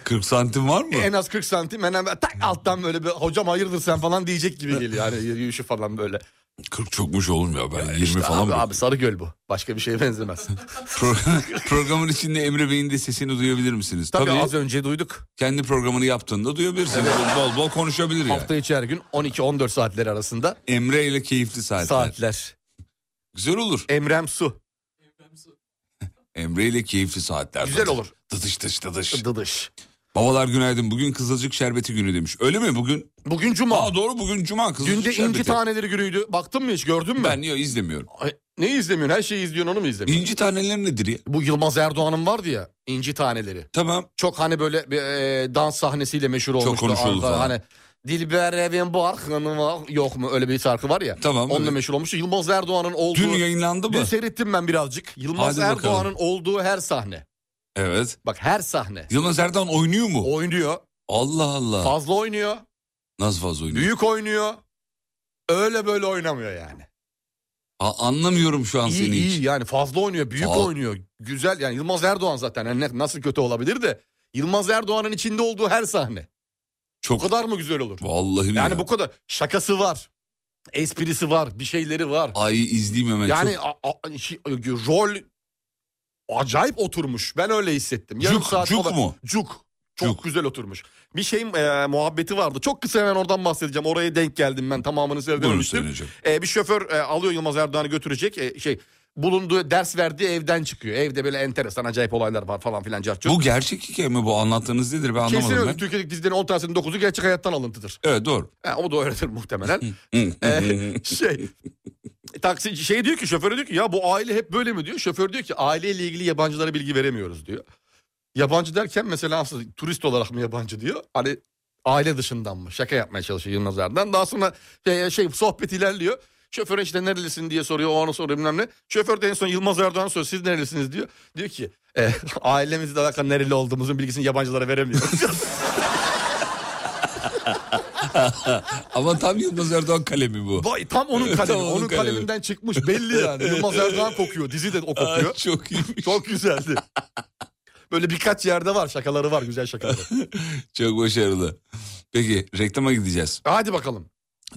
C: 40 santim var mı?
D: en az 40 santim hemen böyle tak alttan böyle bir hocam hayırdır sen falan diyecek gibi geliyor. Yani yürüyüşü falan böyle.
C: 40 çokmuş oğlum ya ben 20 falan
D: abi,
C: mı?
D: abi Sarıgöl bu. Başka bir şeye benzemez.
C: Pro- programın içinde Emre Bey'in de sesini duyabilir misiniz?
D: Tabii,
C: Tabii,
D: az önce duyduk.
C: kendi programını yaptığında duyabilirsiniz. Bol bol konuşabilir yani.
D: Hafta içi her gün 12-14 saatleri arasında
C: Emre ile keyifli saatler.
D: saatler.
C: Güzel olur.
D: Emrem Su.
C: Emre ile keyifli saatler.
D: Güzel olur.
C: Dıdış dıdış dıdış.
D: Dıdış.
C: Babalar günaydın. Bugün kızılcık şerbeti günü demiş. Öyle mi bugün?
D: Bugün cuma.
C: Aa doğru bugün cuma kızılcık
D: Günde
C: şerbeti.
D: inci taneleri günüydü. Baktın mı hiç gördün mü?
C: Ben yok izlemiyorum.
D: Ay, ne izlemiyorsun? Her şeyi izliyorsun onu mu izlemiyorsun?
C: İnci taneleri nedir ya?
D: Bu Yılmaz Erdoğan'ın vardı ya inci taneleri.
C: Tamam.
D: Çok hani böyle bir, e, dans sahnesiyle meşhur olmuştu.
C: konuşuldu
D: Ankara.
C: falan.
D: Hani Dilber Evin bu arkanı var yok mu öyle bir şarkı var ya.
C: Tamam,
D: Onunla
C: evet.
D: meşhur olmuştu. Yılmaz Erdoğan'ın olduğu.
C: Dün yayınlandı
D: Dün
C: mı?
D: seyrettim ben birazcık. Yılmaz
C: Hadi bakalım.
D: Erdoğan'ın olduğu her sahne.
C: Evet.
D: Bak her sahne.
C: Yılmaz Erdoğan oynuyor mu?
D: Oynuyor.
C: Allah Allah.
D: Fazla oynuyor.
C: Nasıl fazla oynuyor?
D: Büyük oynuyor. Öyle böyle oynamıyor yani.
C: Ha, anlamıyorum şu an
D: İyi
C: seni hiç.
D: iyi yani fazla oynuyor, büyük
C: Fazla.
D: oynuyor. Güzel yani Yılmaz Erdoğan zaten yani ne- nasıl kötü olabilir de Yılmaz Erdoğan'ın içinde olduğu her sahne. O
C: Çok.
D: kadar mı güzel olur?
C: Vallahi
D: Yani
C: ya.
D: bu kadar şakası var. Esprisi var, bir şeyleri var.
C: Ay izleyeyim hemen.
D: yani
C: Çok-
D: a- a- şey- rol acayip oturmuş. Ben öyle hissettim.
C: Cuk- cuk
D: falan-
C: mu?
D: Cuk. Çok
C: Cuk.
D: güzel oturmuş. Bir şey e, muhabbeti vardı. Çok kısa hemen oradan bahsedeceğim. Oraya denk geldim ben. Tamamını
C: Buyurun
D: seyredememiştim.
C: Sayın Hocam.
D: Ee, bir şoför e, alıyor Yılmaz Erdoğan'ı götürecek. E, şey bulunduğu ders verdiği evden çıkıyor. Evde böyle enteresan acayip olaylar var falan filan. cart curt.
C: Bu gerçek hikaye mi bu anlattığınız nedir ben
D: Kesin
C: anlamadım
D: öyle.
C: ben.
D: Türkiye'deki dizilerin 10 tanesinin 9'u gerçek hayattan alıntıdır.
C: Evet doğru.
D: Ha, o da öyledir muhtemelen. Ee, şey taksici şey diyor ki şoföre diyor ki ya bu aile hep böyle mi diyor. Şoför diyor ki aileyle ilgili yabancılara bilgi veremiyoruz diyor. Yabancı derken mesela aslında turist olarak mı yabancı diyor. Hani aile dışından mı şaka yapmaya çalışıyor Yılmaz Erdoğan. Daha sonra şey, şey sohbet ilerliyor. Şoföre işte nerelisin diye soruyor o onu soruyor bilmem ne. Şoför de en son Yılmaz Erdoğan soruyor siz nerelisiniz diyor. Diyor ki e, ailemizle alakalı nereli olduğumuzun bilgisini yabancılara veremiyoruz.
C: Ama tam Yılmaz Erdoğan kalemi bu.
D: Vay tam onun kalemi.
C: Tam
D: onun,
C: onun kalemi.
D: kaleminden çıkmış belli yani. Yılmaz Erdoğan kokuyor. Dizi de o
C: Ay,
D: kokuyor.
C: çok iyiymiş.
D: Çok güzeldi. Böyle birkaç yerde var şakaları var güzel şakaları.
C: Çok başarılı. Peki reklama gideceğiz.
D: Hadi bakalım.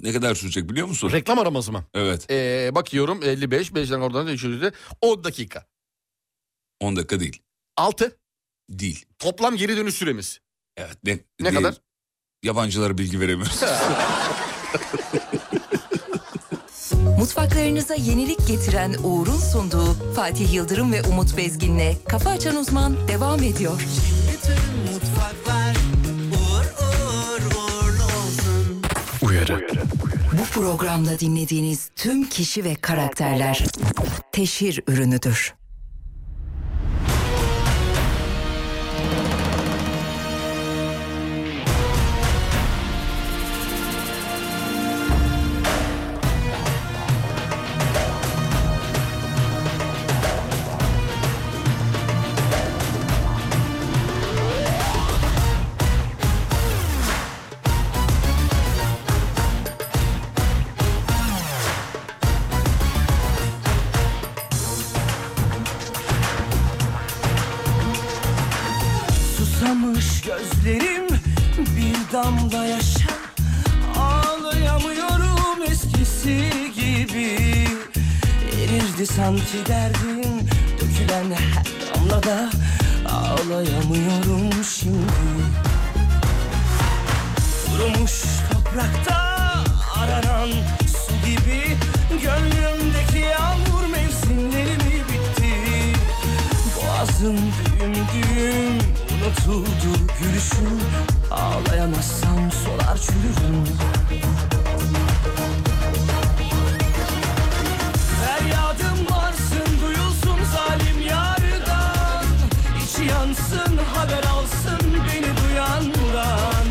C: Ne kadar sürecek biliyor musun?
D: Reklam araması mı?
C: Evet.
D: Ee, bakıyorum 55, 5'den oradan 300'de 10 dakika.
C: 10 dakika değil.
D: 6
C: Değil.
D: toplam geri dönüş süremiz.
C: Evet. Ne,
D: Ne
C: diye-
D: kadar?
C: Yabancılara bilgi veremiyoruz.
A: Mutfaklarınıza yenilik getiren Uğur'un sunduğu Fatih Yıldırım ve Umut Bezgin'le Kafa Açan Uzman devam ediyor.
E: Bütün mutfaklar uğur uğur uğurlu olsun
A: Bu programda dinlediğiniz tüm kişi ve karakterler teşhir ürünüdür.
G: Susamış gözlerim bir damla yaşa Ağlayamıyorum eskisi gibi Erirdi sanki derdim dökülen her damlada Ağlayamıyorum şimdi Kurumuş toprakta aranan su gibi Gönlümdeki yağmur mevsimleri mi bitti Boğazım düğüm düğüm unutuldu gülüşüm Ağlayamazsam solar çürürüm Feryadım varsın duyulsun zalim yardan İçi yansın haber alsın beni duyandan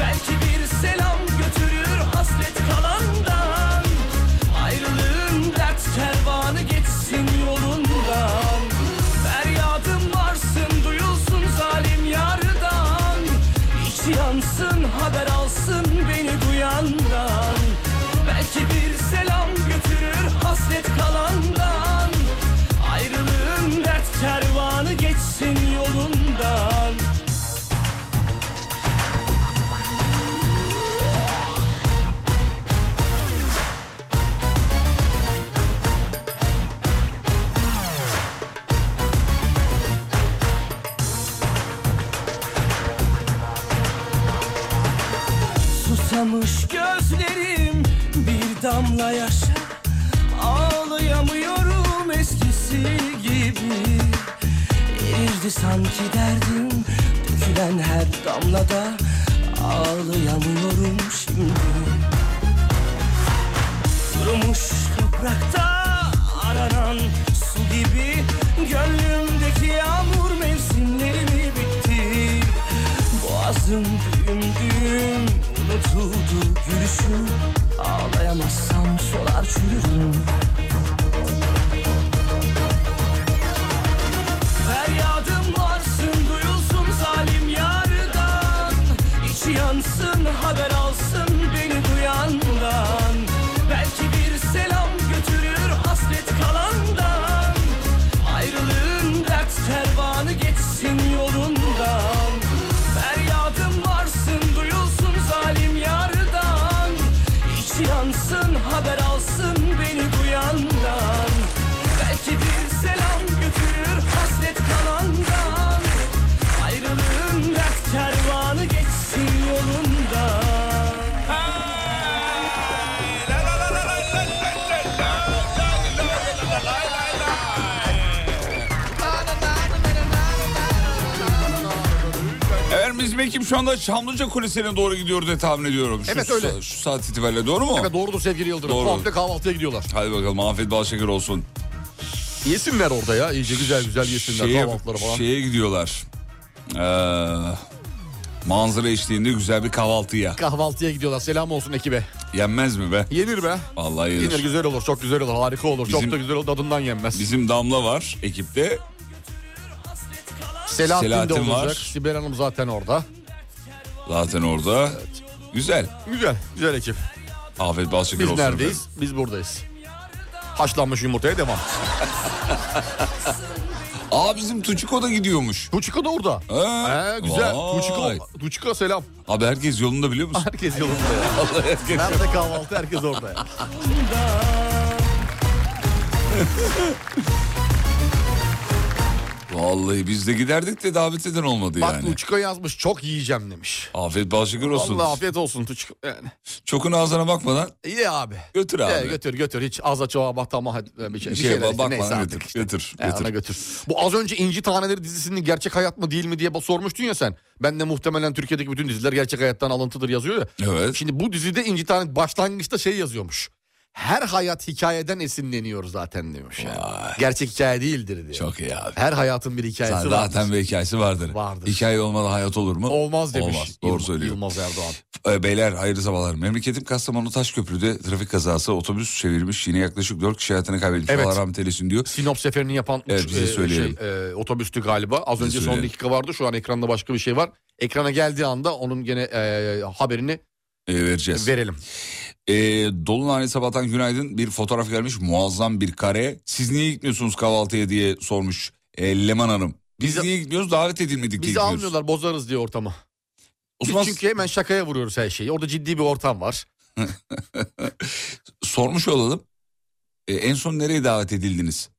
G: Belki bir selam götürür hasret kalandan Ayrılığın derdi geçsin yolundan Susamış gözlerim bir damla yaşa Ağlayamıyorum eskisi gibi Erirdi sanki derdim dökülen her damlada Ağlayamıyorum şimdi Kurumuş toprakta aranan su gibi Gönlümdeki yağmur mevsimleri mi bitti Boğazım düğüm düğüm unutuldu gülüşüm Ağlayamazsam solar çürürüm Feryadım varsın duyulsun zalim yardan İçi yansın haber alsın beni duyandan Belki bir selam götürür hasret kalandan Ayrılığın dert kervanı geçsin yolundan Feryadım varsın duyulsun zalim yardan İçi yansın haber alsın beni duyandan Belki bir selam götürür hasret kalandan Ayrılığın dert kervanı geçsin yolundan
C: Efendim bizim ekip şu anda Çamlıca Kulesi'ne doğru gidiyor diye tahmin ediyorum. Şu,
D: Evet, öyle.
C: Şu, şu saat itibariyle doğru mu?
D: Evet doğrudur sevgili Yıldırım.
C: Doğru.
D: Komple kahvaltıya gidiyorlar.
C: Hadi bakalım afiyet bal şeker olsun.
D: Yesinler orada ya. İyice güzel güzel yesinler
C: Şeye-
D: kahvaltıları falan.
C: Şeye gidiyorlar. Ee, manzara eşliğinde güzel bir kahvaltıya.
D: Kahvaltıya gidiyorlar. Selam olsun ekibe.
C: Yenmez mi be?
D: Yenir be.
C: Vallahi
D: Yenir
C: yenir.
D: güzel olur. Çok güzel olur. Harika olur.
C: Bizim-
D: Çok da güzel olur. Tadından yenmez.
C: Bizim Damla var ekipte.
D: Selahattin, de
C: Selahattin
D: olacak.
C: var.
D: Sibel Hanım zaten orada.
C: Zaten orada. Güzel.
D: Güzel. Güzel ekip.
C: Afiyet bal şeker
D: Biz
C: olsun.
D: neredeyiz?
C: efendim.
D: Biz buradayız. Haşlanmış yumurtaya devam.
C: Aa bizim Tuçiko da gidiyormuş.
D: Tuçika da orada.
C: Ha,
D: He, güzel.
C: vay.
D: Tuçika, Tuçika selam.
C: Abi herkes yolunda biliyor musun?
D: Herkes yolunda ya.
C: Vallahi herkes.
D: Nerede kahvaltı herkes orada ya.
C: Vallahi biz de giderdik de davet eden olmadı
D: Bak
C: yani.
D: Tuçika yazmış çok yiyeceğim demiş.
C: Afiyet bal şeker olsun.
D: Allah afiyet olsun Tuçika. Yani.
C: Çokun ağzına bakmadan
D: İyi abi.
C: götür abi.
D: Ee, götür götür hiç aza çoğa baktama bir şey,
C: Bir
D: bir
C: şeye
D: şeyler
C: bak-
D: işte,
C: bakmadan
D: neyse
C: götür.
D: artık işte.
C: Götür.
D: Ee,
C: götür.
D: ona götür. Bu az önce İnci Taneleri dizisinin gerçek hayat mı değil mi diye ba- sormuştun ya sen. Ben de muhtemelen Türkiye'deki bütün diziler gerçek hayattan alıntıdır yazıyor ya.
C: Evet.
D: Şimdi bu dizide İnci Tane başlangıçta şey yazıyormuş. Her hayat hikayeden esinleniyor zaten demiş. Yani. Gerçek hikaye değildir diyor.
C: Çok iyi abi.
D: Her hayatın bir hikayesi
C: Zaten
D: vardır.
C: bir hikayesi vardır.
D: Vardır.
C: Hikaye olmadan hayat olur mu?
D: Olmaz demiş.
C: Olmaz. Doğru
D: Yılmaz-
C: söylüyor.
D: Yılmaz Erdoğan.
C: Ee, Beyler hayırlı sabahlar. Memleketim Kastamonu Taşköprü'de trafik kazası otobüs çevirmiş. Yine yaklaşık 4 kişi hayatını kaybetmiş.
D: Evet.
C: Allah rahmet eylesin diyor.
D: Sinop seferini yapan
C: Evet,
D: uç-
C: bize söyleyelim.
D: şey, e, otobüstü galiba. Az
C: Bize
D: önce
C: söyleyelim.
D: son dakika vardı. Şu an ekranda başka bir şey var. Ekrana geldiği anda onun gene e, haberini
C: Ee, vereceğiz.
D: verelim.
C: Ee, Dolunay sabahtan günaydın. Bir fotoğraf gelmiş. Muazzam bir kare. Siz niye gitmiyorsunuz kahvaltıya diye sormuş e, Leman Hanım. Biz
D: Bizi-
C: niye gitmiyoruz? Davet edilmedik diye
D: Bizi
C: gitmiyoruz.
D: almıyorlar bozarız diye ortamı. Biz
C: Osman
D: çünkü hemen şakaya vuruyoruz her şeyi. Orada ciddi bir ortam var.
C: sormuş olalım. Ee, en son nereye davet edildiniz?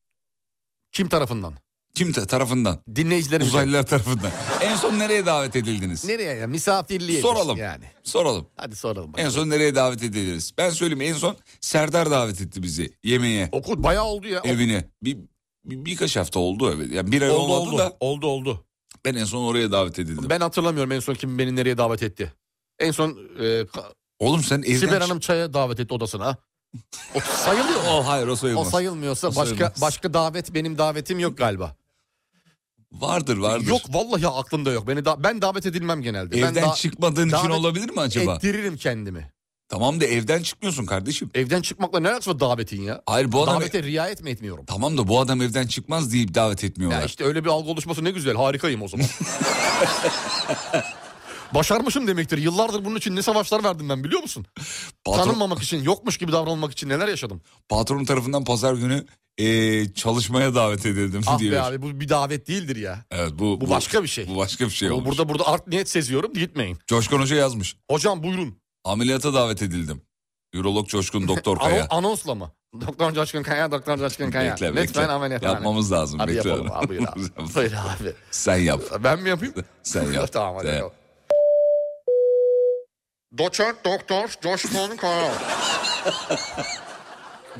D: Kim tarafından?
C: Kim ta- tarafından?
D: Dinleyicilerimiz.
C: Uzaylılar tarafından. En son nereye davet edildiniz?
D: Nereye ya? Misafirliğe.
C: Soralım.
D: Yani.
C: Soralım.
D: Hadi soralım.
C: En son nereye davet ediliriz? Ben söyleyeyim en son Serdar davet etti bizi yemeğe,
D: E, Okul bayağı oldu ya.
C: evine. Bir, bir- birkaç hafta E, oldu evet. Yani bir ay
D: oldu
C: olmadı
D: oldu.
C: da
D: Oldu oldu.
C: ben en son oraya davet edildim.
D: Ben hatırlamıyorum en son kim beni nereye davet etti. En son e, ka-
C: Oğlum sen evden...
D: Sibel Hanım çaya davet etti odasına. O sayılıyor.
C: O hayır o
D: O
C: sayılmaz.
D: sayılmıyorsa
C: O
D: başka
C: sayılmaz.
D: başka davet benim davetim yok galiba.
C: Vardır vardır.
D: Yok vallahi aklımda yok. Beni da- ben davet edilmem genelde.
C: Evden
D: ben da-
C: çıkmadığın için
D: davet
C: olabilir mi acaba?
D: ettiririm kendimi.
C: Tamam da evden çıkmıyorsun kardeşim.
D: Evden çıkmakla ne alakası var davetin ya?
C: Hayır bu adam...
D: Davete riayet mi etmiyorum?
C: Tamam da bu adam evden çıkmaz deyip davet etmiyorlar.
D: Ya işte öyle bir algı oluşması ne güzel. Harikayım o zaman. Başarmışım demektir. Yıllardır bunun için ne savaşlar verdim ben biliyor musun?
C: Patron,
D: Tanınmamak için, yokmuş gibi davranılmak için neler yaşadım.
C: patronun tarafından pazar günü eee, çalışmaya davet edildim
D: Ah
C: diyor.
D: be abi bu bir davet değildir ya.
C: Evet, bu,
D: Bu başka bir şey.
C: Bu başka bir şey
D: Bu
C: olmuş.
D: burada burada art niyet seziyorum gitmeyin.
C: Coşkun Hoca yazmış.
D: Hocam buyurun.
C: Ameliyata davet edildim. Ürolog Coşkun Doktor
D: Ano-
C: Kaya.
D: anonsla mı? Doktor Coşkun Kaya, Doktor Coşkun Kaya.
C: Bekle,
D: Lütfen
C: bekle.
D: ameliyathane.
C: Yapmamız lazım.
D: Hadi
C: bekle.
D: yapalım abi. Buyur abi. Buyur abi.
C: Sen yap.
D: Ben mi yapayım?
C: Sen yap.
D: tamam hadi
C: Sen
D: yapalım. Doçent Doktor Coşkun Kaya.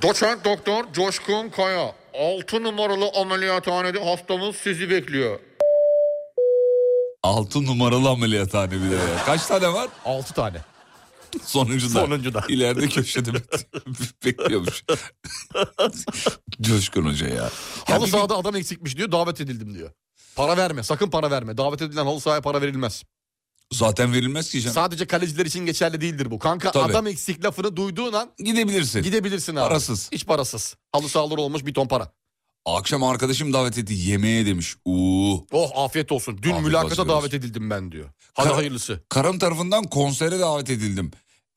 D: Doçent Doktor Coşkun Kaya. 6 numaralı ameliyathanede hastamız sizi bekliyor.
C: 6 numaralı ameliyathane bir de. ya. Kaç tane var?
D: 6 tane.
C: Sonuncu da.
D: Sonuncu da.
C: İleride köşede bek- bekliyormuş. Coşkun Hoca ya. Ya
D: Halı
C: bir-
D: sahada adam eksikmiş diyor davet edildim diyor. Para verme sakın para verme. Davet edilen halı sahaya para verilmez.
C: Zaten verilmez ki canım.
D: Sadece kaleciler için geçerli değildir bu. Kanka
C: Tabii.
D: adam eksik lafını duyduğun an
C: Gidebilirsin.
D: gidebilirsin abi.
C: Parasız.
D: Hiç parasız. Halı sahaları olmuş bir ton para.
C: Akşam arkadaşım davet etti yemeğe demiş. Uuu.
D: Oh afiyet olsun. Dün
C: Afiyet
D: mülakata
C: olsun.
D: davet edildim ben diyor. Hadi
C: Kar-
D: hayırlısı.
C: Karım tarafından konsere davet edildim.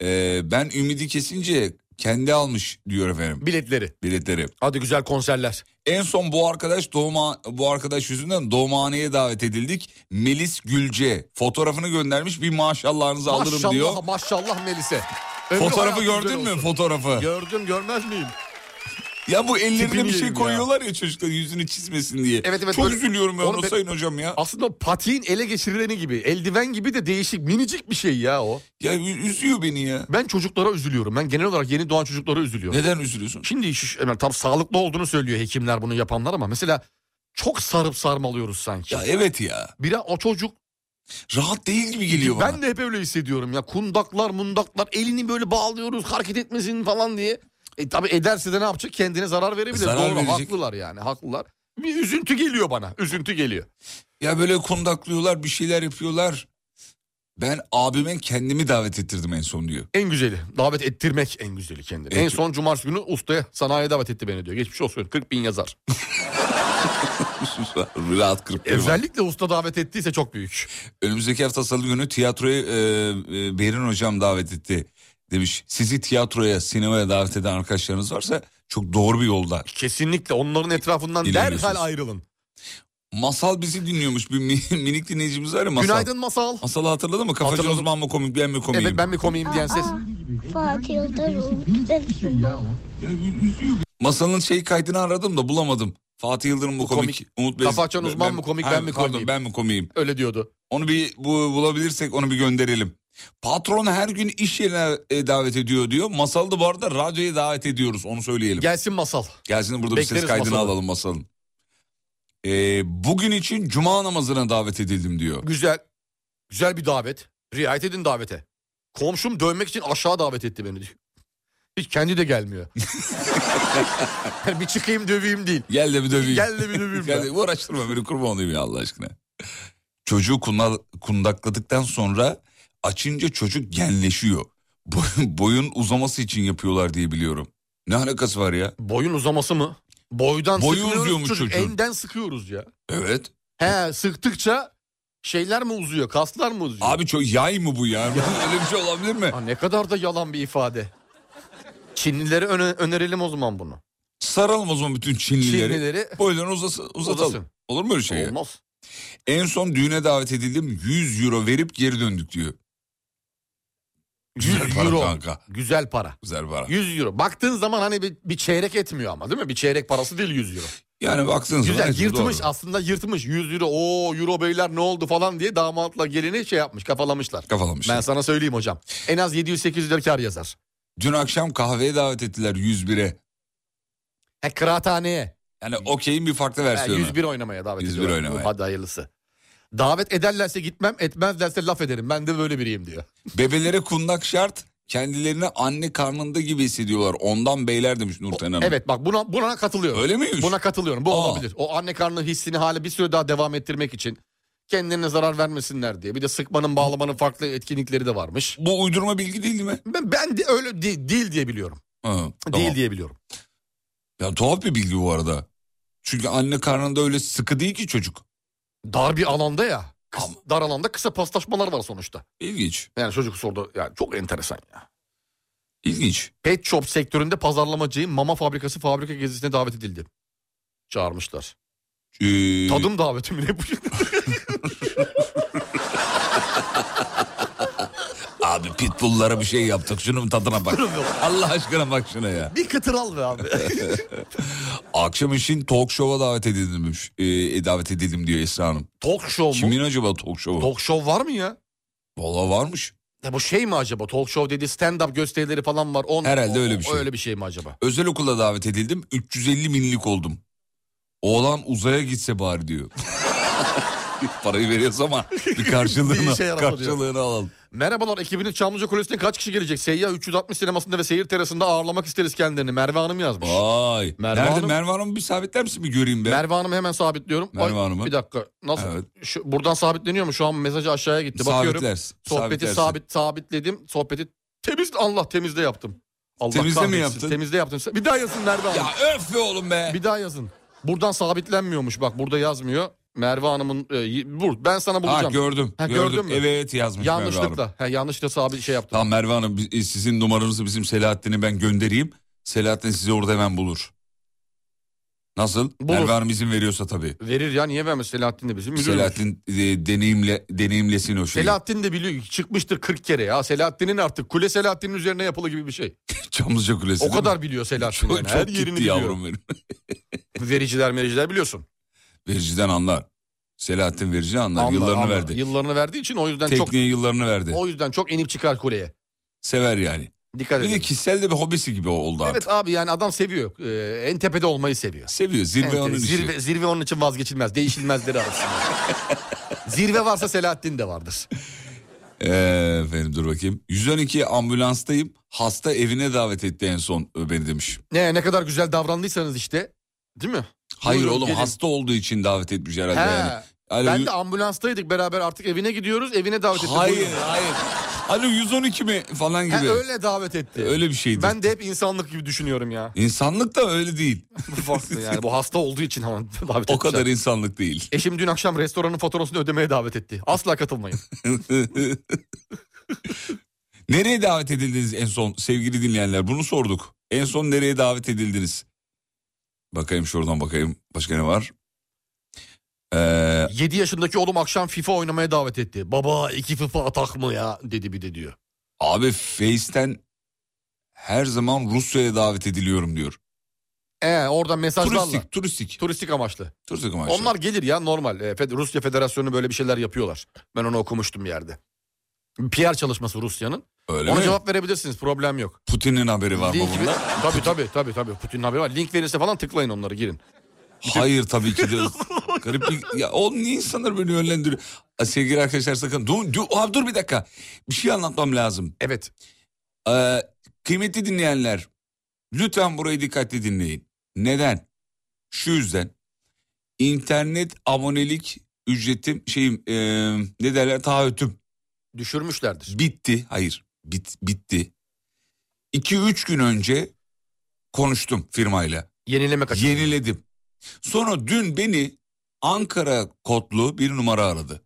C: Ee, ben ümidi kesince kendi almış diyor efendim
D: Biletleri.
C: biletleri.
D: Hadi güzel konserler.
C: En son bu arkadaş doğuma bu arkadaş yüzünden doğumhaneye davet edildik. Melis Gülce fotoğrafını göndermiş bir maşallahınızı alırım
D: maşallah
C: diyor.
D: maşallah Melis'e. Ömrü
C: Fotoğrafı
D: hayatı
C: gördün mü
D: güzel olsun.
C: fotoğrafı?
D: Gördüm görmez miyim?
C: Ya bu ellerine
D: Tipini
C: bir şey
D: yerim ya.
C: koyuyorlar ya, çocuklar yüzünü çizmesin diye.
D: Evet, evet,
C: Çok
D: böyle-
C: üzülüyorum ben
D: Onu
C: ona
D: ben-
C: sayın hocam ya.
D: Aslında patiğin ele geçirileni gibi, eldiven gibi de değişik, minicik bir şey ya o.
C: Ya ü- üzüyor beni ya.
D: Ben çocuklara üzülüyorum. Ben genel olarak yeni doğan çocuklara üzülüyorum.
C: Neden üzülüyorsun?
D: Şimdi iş, Ömer, tam sağlıklı olduğunu söylüyor hekimler bunu yapanlar ama mesela çok sarıp sarmalıyoruz sanki.
C: Ya evet ya.
D: Biraz o çocuk
C: Rahat değil gibi geliyor bana.
D: Ben de hep öyle hissediyorum ya. Kundaklar mundaklar elini böyle bağlıyoruz hareket etmesin falan diye. E tabi ederse de ne yapacak? Kendine zarar verebilir.
C: Zarar
D: Doğru
C: verecek.
D: haklılar yani haklılar. Bir üzüntü geliyor bana. Üzüntü geliyor.
C: Ya böyle kundaklıyorlar bir şeyler yapıyorlar. Ben abime kendimi davet ettirdim en son diyor.
D: En güzeli davet ettirmek en güzeli kendini.
C: Evet.
D: En son cumartesi günü ustaya sanayiye davet etti beni diyor. Geçmiş olsun 40 bin yazar.
C: Rahat kırıp duruyor.
D: Özellikle usta davet ettiyse çok büyük.
C: Önümüzdeki hafta salı günü tiyatroya e, e, Behrin hocam davet etti demiş. Sizi tiyatroya, sinemaya davet eden arkadaşlarınız varsa çok doğru bir yolda.
D: Kesinlikle onların etrafından
C: İlerliyorsunuz.
D: derhal ayrılın.
C: Masal bizi dinliyormuş bir mi- minik dinleyicimiz var ya Masal.
D: Günaydın Masal.
C: Masal'ı hatırladın mı? Kafacı
D: Hatırladım.
C: uzman mı komik ben mi komiyim?
D: Evet ben bir komiyim diyen ses.
I: Fatih Yıldırım.
C: Masal'ın şey kaydını aradım da bulamadım. Fatih Yıldırım mı
D: Bu
C: komik?
D: komik.
C: Umut
D: Kafa açan uzman mı komik,
C: Ha,
D: ben mi
C: pardon,
D: komiyim?
C: Ben mi komiyim?
D: Öyle diyordu.
C: Onu bir bu, bulabilirsek onu bir gönderelim. Patron her gün iş yerine e, davet ediyor diyor. Masal da bu arada radyoya davet ediyoruz onu söyleyelim.
D: Gelsin Masal.
C: Gelsin burada bir ses
D: Bekleriz
C: kaydını
D: Masal'ı.
C: alalım Masal'ın. Ee, bugün için cuma namazına davet edildim diyor.
D: Güzel. Güzel bir davet. Riayet edin davete. Komşum dövmek için aşağı davet etti beni diyor. Hiç kendi de gelmiyor. Yani bir çıkayım döveyim değil.
C: Gel de bir döveyim.
D: Gel de bir döveyim
C: Gel
D: ben.
C: de- uğraştırma beni kurban olayım ya Allah aşkına. Çocuğu kuna- kundakladıktan sonra açınca çocuk genleşiyor. Boy- boyun uzaması için yapıyorlar diye biliyorum. Ne alakası var ya?
D: Boyun uzaması mı? Boydan
C: Boyu
D: sıkıyoruz
C: uzuyormuş
D: çocuk.
C: çocuğun.
D: Enden sıkıyoruz ya.
C: Evet.
D: He sıktıkça şeyler mi uzuyor? Kaslar mı uzuyor?
C: Abi çok yay mı bu ya? Öyle bir şey olabilir mi?
D: Ha, ne kadar da yalan bir ifade. Çinlilere öne- önerelim o zaman bunu.
C: Saralım o zaman bütün Çinlileri.
D: Çinlileri
C: Boylarını uzası- uzatalım.
D: Uzasın.
C: Olur mu öyle şey? ya?
D: olmaz.
C: En son düğüne davet edildim. 100 euro verip geri döndük diyor.
D: 100
C: Güzel para
D: euro.
C: kanka.
D: Güzel para.
C: Güzel para.
D: 100 euro. Baktığın zaman hani bir, bir çeyrek etmiyor ama değil mi? Bir çeyrek parası değil 100 euro.
C: Yani baksanıza.
D: Güzel
C: bence
D: yırtmış
C: doğru.
D: aslında yırtmış 100 euro o euro beyler ne oldu falan diye damatla gelini şey yapmış kafalamışlar.
C: Kafalamış.
D: Ben sana söyleyeyim hocam en az 700-800 lira kar yazar.
C: Dün akşam kahveye davet ettiler 101'e.
D: He kıraathaneye
C: Yani okeyin bir farklı
D: He,
C: versiyonu.
D: 101 oynamaya davet
C: 101
D: ediyorlar.
C: oynamaya.
D: Hadi hayırlısı. Davet ederlerse gitmem etmezlerse laf ederim ben de böyle biriyim diyor.
C: Bebelere kundak şart. Kendilerini anne karnında gibi hissediyorlar. Ondan beyler demiş Nurten Hanım.
D: Evet bak buna, buna katılıyorum.
C: Öyle miymiş?
D: Buna katılıyorum bu
C: Aa.
D: olabilir. O anne karnı hissini hala bir süre daha devam ettirmek için kendilerine zarar vermesinler diye. Bir de sıkmanın bağlamanın farklı etkinlikleri de varmış.
C: Bu uydurma bilgi değil mi?
D: Ben, ben de öyle değil, değil diye biliyorum.
C: Ha, tamam.
D: Değil diye biliyorum.
C: Ya tuhaf bir bilgi bu arada. Çünkü anne karnında öyle sıkı değil ki çocuk.
D: Dar bir alanda ya. Kıs- dar alanda kısa paslaşmalar var sonuçta.
C: İlginç.
D: Yani çocuk sordu. Yani çok enteresan ya.
C: İlginç.
D: Pet shop sektöründe pazarlamacıyım. Mama fabrikası fabrika gezisine davet edildi. Çağırmışlar.
C: Ee,
D: Tadım daveti mi ne bu?
C: Abi pitbulllara bir şey yaptık. Şunun tadına bak. Allah aşkına bak şuna ya.
D: bir kıtır al be abi.
C: Akşam için talk show'a davet edilmiş. Ee, davet edildim diyor Esra Hanım.
D: Talk show mu?
C: Kimin acaba talk show'u?
D: Talk show var mı ya?
C: Valla varmış.
D: Ya bu şey mi acaba? Talk show dedi stand up gösterileri falan var. On,
C: Herhalde
D: o-
C: öyle bir şey.
D: Öyle bir şey mi acaba?
C: Özel okula davet edildim. 350 binlik oldum. Oğlan uzaya gitse bari diyor. Parayı veriyoruz ama bir
D: Bir
C: karşılığını,
D: işe yaramaz
C: karşılığını alalım.
D: Merhabalar ekibinin Çamlıca Kulesi'ne kaç kişi gelecek? Seyyah 360 sinemasında ve seyir terasında ağırlamak isteriz kendilerini. Merve Hanım yazmış.
C: Vay.
D: Merve
C: Nerede
D: Hanım-
C: Merve Hanım'ı bir sabitler misin bir göreyim ben?
D: Merve Hanım'ı hemen sabitliyorum. Ay,
C: Merve Hanım'ı.
D: Bir dakika. Nasıl?
C: Evet.
D: Şu, buradan sabitleniyor mu? Şu an mesajı aşağıya gitti. Bakıyorum.
C: Sabitlersin.
D: Sohbeti
C: sabitlersin.
D: sabit sabitledim. Sohbeti temiz Allah temizde yaptım. Allah
C: Temizde mi
D: kahretsin,
C: yaptın?
D: Temizde yaptım. Bir daha yazın Merve Hanım.
C: Ya öf be oğlum be.
D: Bir daha yazın. Buradan sabitlenmiyormuş bak burada yazmıyor. Merve Hanım'ın e, y- bur. Ben sana bulacağım.
C: Ha gördüm.
D: Ha,
C: gördüm.
D: gördün mü?
C: Evet yazmış Merve Hanım.
D: yanlışlıkla. He, yanlışlıkla sabit şey yaptım.
C: Tamam Merve Hanım biz- e, sizin numaranızı bizim Selahattin'e ben göndereyim. Selahattin sizi orada hemen bulur. Nasıl?
D: Bulur.
C: Merve Hanım izin veriyorsa tabii.
D: Verir ya niye vermez Selahattin de bizim müdürümüz.
C: Selahattin şey- e, deneyimle deneyimlesin o şeyi.
D: Selahattin de biliyor çıkmıştır 40 kere ya. Selahattin'in artık kule Selahattin'in üzerine yapılı gibi bir şey.
C: Çamlıca Kulesi.
D: O
C: değil mi?
D: kadar biliyor Selahattin.
C: çok,
D: yani.
C: çok
D: Her
C: gitti
D: yerini biliyor.
C: yavrum benim.
D: Vericiler mericiler biliyorsun.
C: Vericiden anlar. Selahattin verici anlar.
D: Anla-
C: yıllarını
D: anla.
C: verdi.
D: Yıllarını verdiği için o yüzden çok
C: Tekniğe yıllarını verdi.
D: o yüzden çok inip çıkar kuleye.
C: Sever yani.
D: Dikkat
C: Bir de
D: edin.
C: kişisel de bir hobisi gibi oldu artık.
D: Evet abi yani adam seviyor. Ee, en tepede olmayı seviyor.
C: Seviyor. Zirve
D: Enter-
C: onun işi.
D: zirve, zirve onun için vazgeçilmez. Değişilmezleri arasında. zirve varsa Selahattin de vardır.
C: Ee, efendim dur bakayım. 112 ambulanstayım. Hasta evine davet etti en son e, beni demiş.
D: Ne ne kadar güzel davrandıysanız işte. Değil mi?
C: Hayır
D: Buyurun,
C: oğlum
D: gelin.
C: hasta olduğu için davet etmiş herhalde
D: He.
C: yani. Alo,
D: Ben
C: yu-
D: de ambulanstaydık beraber artık evine gidiyoruz. Evine davet etti.
C: hayır
D: Buyurun.
C: hayır. Alo 112 mi falan gibi.
D: He,
C: öyle,
D: öyle davet etti.
C: bir şeydi.
D: Ben de hep insanlık gibi düşünüyorum ya.
C: İnsanlık da öyle değil.
D: Farklı yani bu hasta olduğu için ama davet etmişler.
C: O kadar insanlık değil.
D: Eşim dün akşam restoranın faturasını ödemeye davet etti. Asla katılmayın.
C: Nereye davet edildiniz en son sevgili dinleyenler? Bunu sorduk. En son nereye davet edildiniz? Bakayım şuradan bakayım. Başka ne var? Ee,
D: 7 yaşındaki oğlum akşam FIFA oynamaya davet etti. Baba iki FIFA atak mı ya dedi bir de diyor.
C: Abi Face'ten her zaman Rusya'ya davet ediliyorum diyor. E,
D: Ee oradan mesajlarla.
C: Turistik, turistik.
D: Turistik amaçlı.
C: Turistik amaçlı.
D: Onlar gelir ya normal. E, Fed- Rusya Federasyonu böyle bir şeyler yapıyorlar. Ben onu okumuştum bir yerde. PR çalışması Rusya'nın.
C: Öyle
D: Ona
C: mi?
D: cevap verebilirsiniz problem yok.
C: Putin'in haberi var mı
D: Link
C: bunda?
D: ver- Tabii tabii tabii tabii Putin'in haberi var. Link verirse falan tıklayın onları girin.
C: Hayır tabii ki de. Garip bir... Ya o niye insanları böyle yönlendiriyor? Aa, Sevgili arkadaşlar sakın. Dur, dur, Aa, dur bir dakika. Bir şey anlatmam lazım.
D: Evet.
C: Ee, kıymetli dinleyenler. Lütfen burayı dikkatli dinleyin. Neden? Şu yüzden. internet abonelik ücretim şeyim eee, ne derler taahhütüm
D: Düşürmüşlerdir.
C: Bitti. Hayır. Bit, bitti. 2-3 gün önce konuştum firmayla.
D: Yenileme kaçırdı.
C: Yeniledim. Sonra dün beni Ankara kodlu bir numara aradı.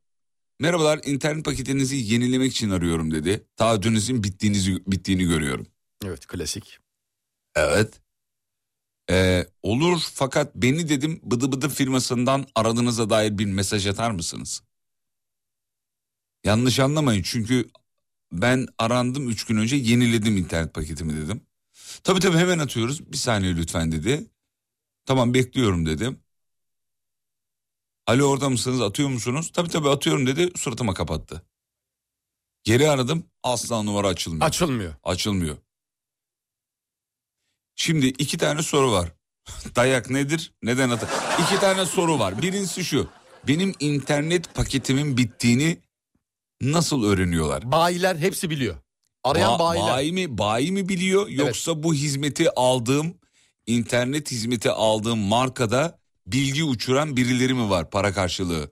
C: Merhabalar internet paketinizi yenilemek için arıyorum dedi. Taahhütünüzün bittiğinizi, bittiğini görüyorum.
D: Evet klasik.
C: Evet. Ee, olur fakat beni dedim bıdı bıdı firmasından aradığınıza dair bir mesaj atar mısınız? Yanlış anlamayın çünkü ben arandım 3 gün önce yeniledim internet paketimi dedim. Tabii tabii hemen atıyoruz bir saniye lütfen dedi. Tamam bekliyorum dedim. Alo orada mısınız atıyor musunuz? Tabii tabii atıyorum dedi suratıma kapattı. Geri aradım asla numara açılmıyor.
D: Açılmıyor.
C: Açılmıyor. Şimdi iki tane soru var. Dayak nedir? Neden atar? İki tane soru var. Birincisi şu. Benim internet paketimin bittiğini nasıl öğreniyorlar?
D: Bayiler hepsi biliyor. Arayan
C: Ba-
D: bayiler.
C: bayi mi bayi mi biliyor yoksa bu hizmeti aldığım internet hizmeti aldığım markada bilgi uçuran birileri mi var para karşılığı?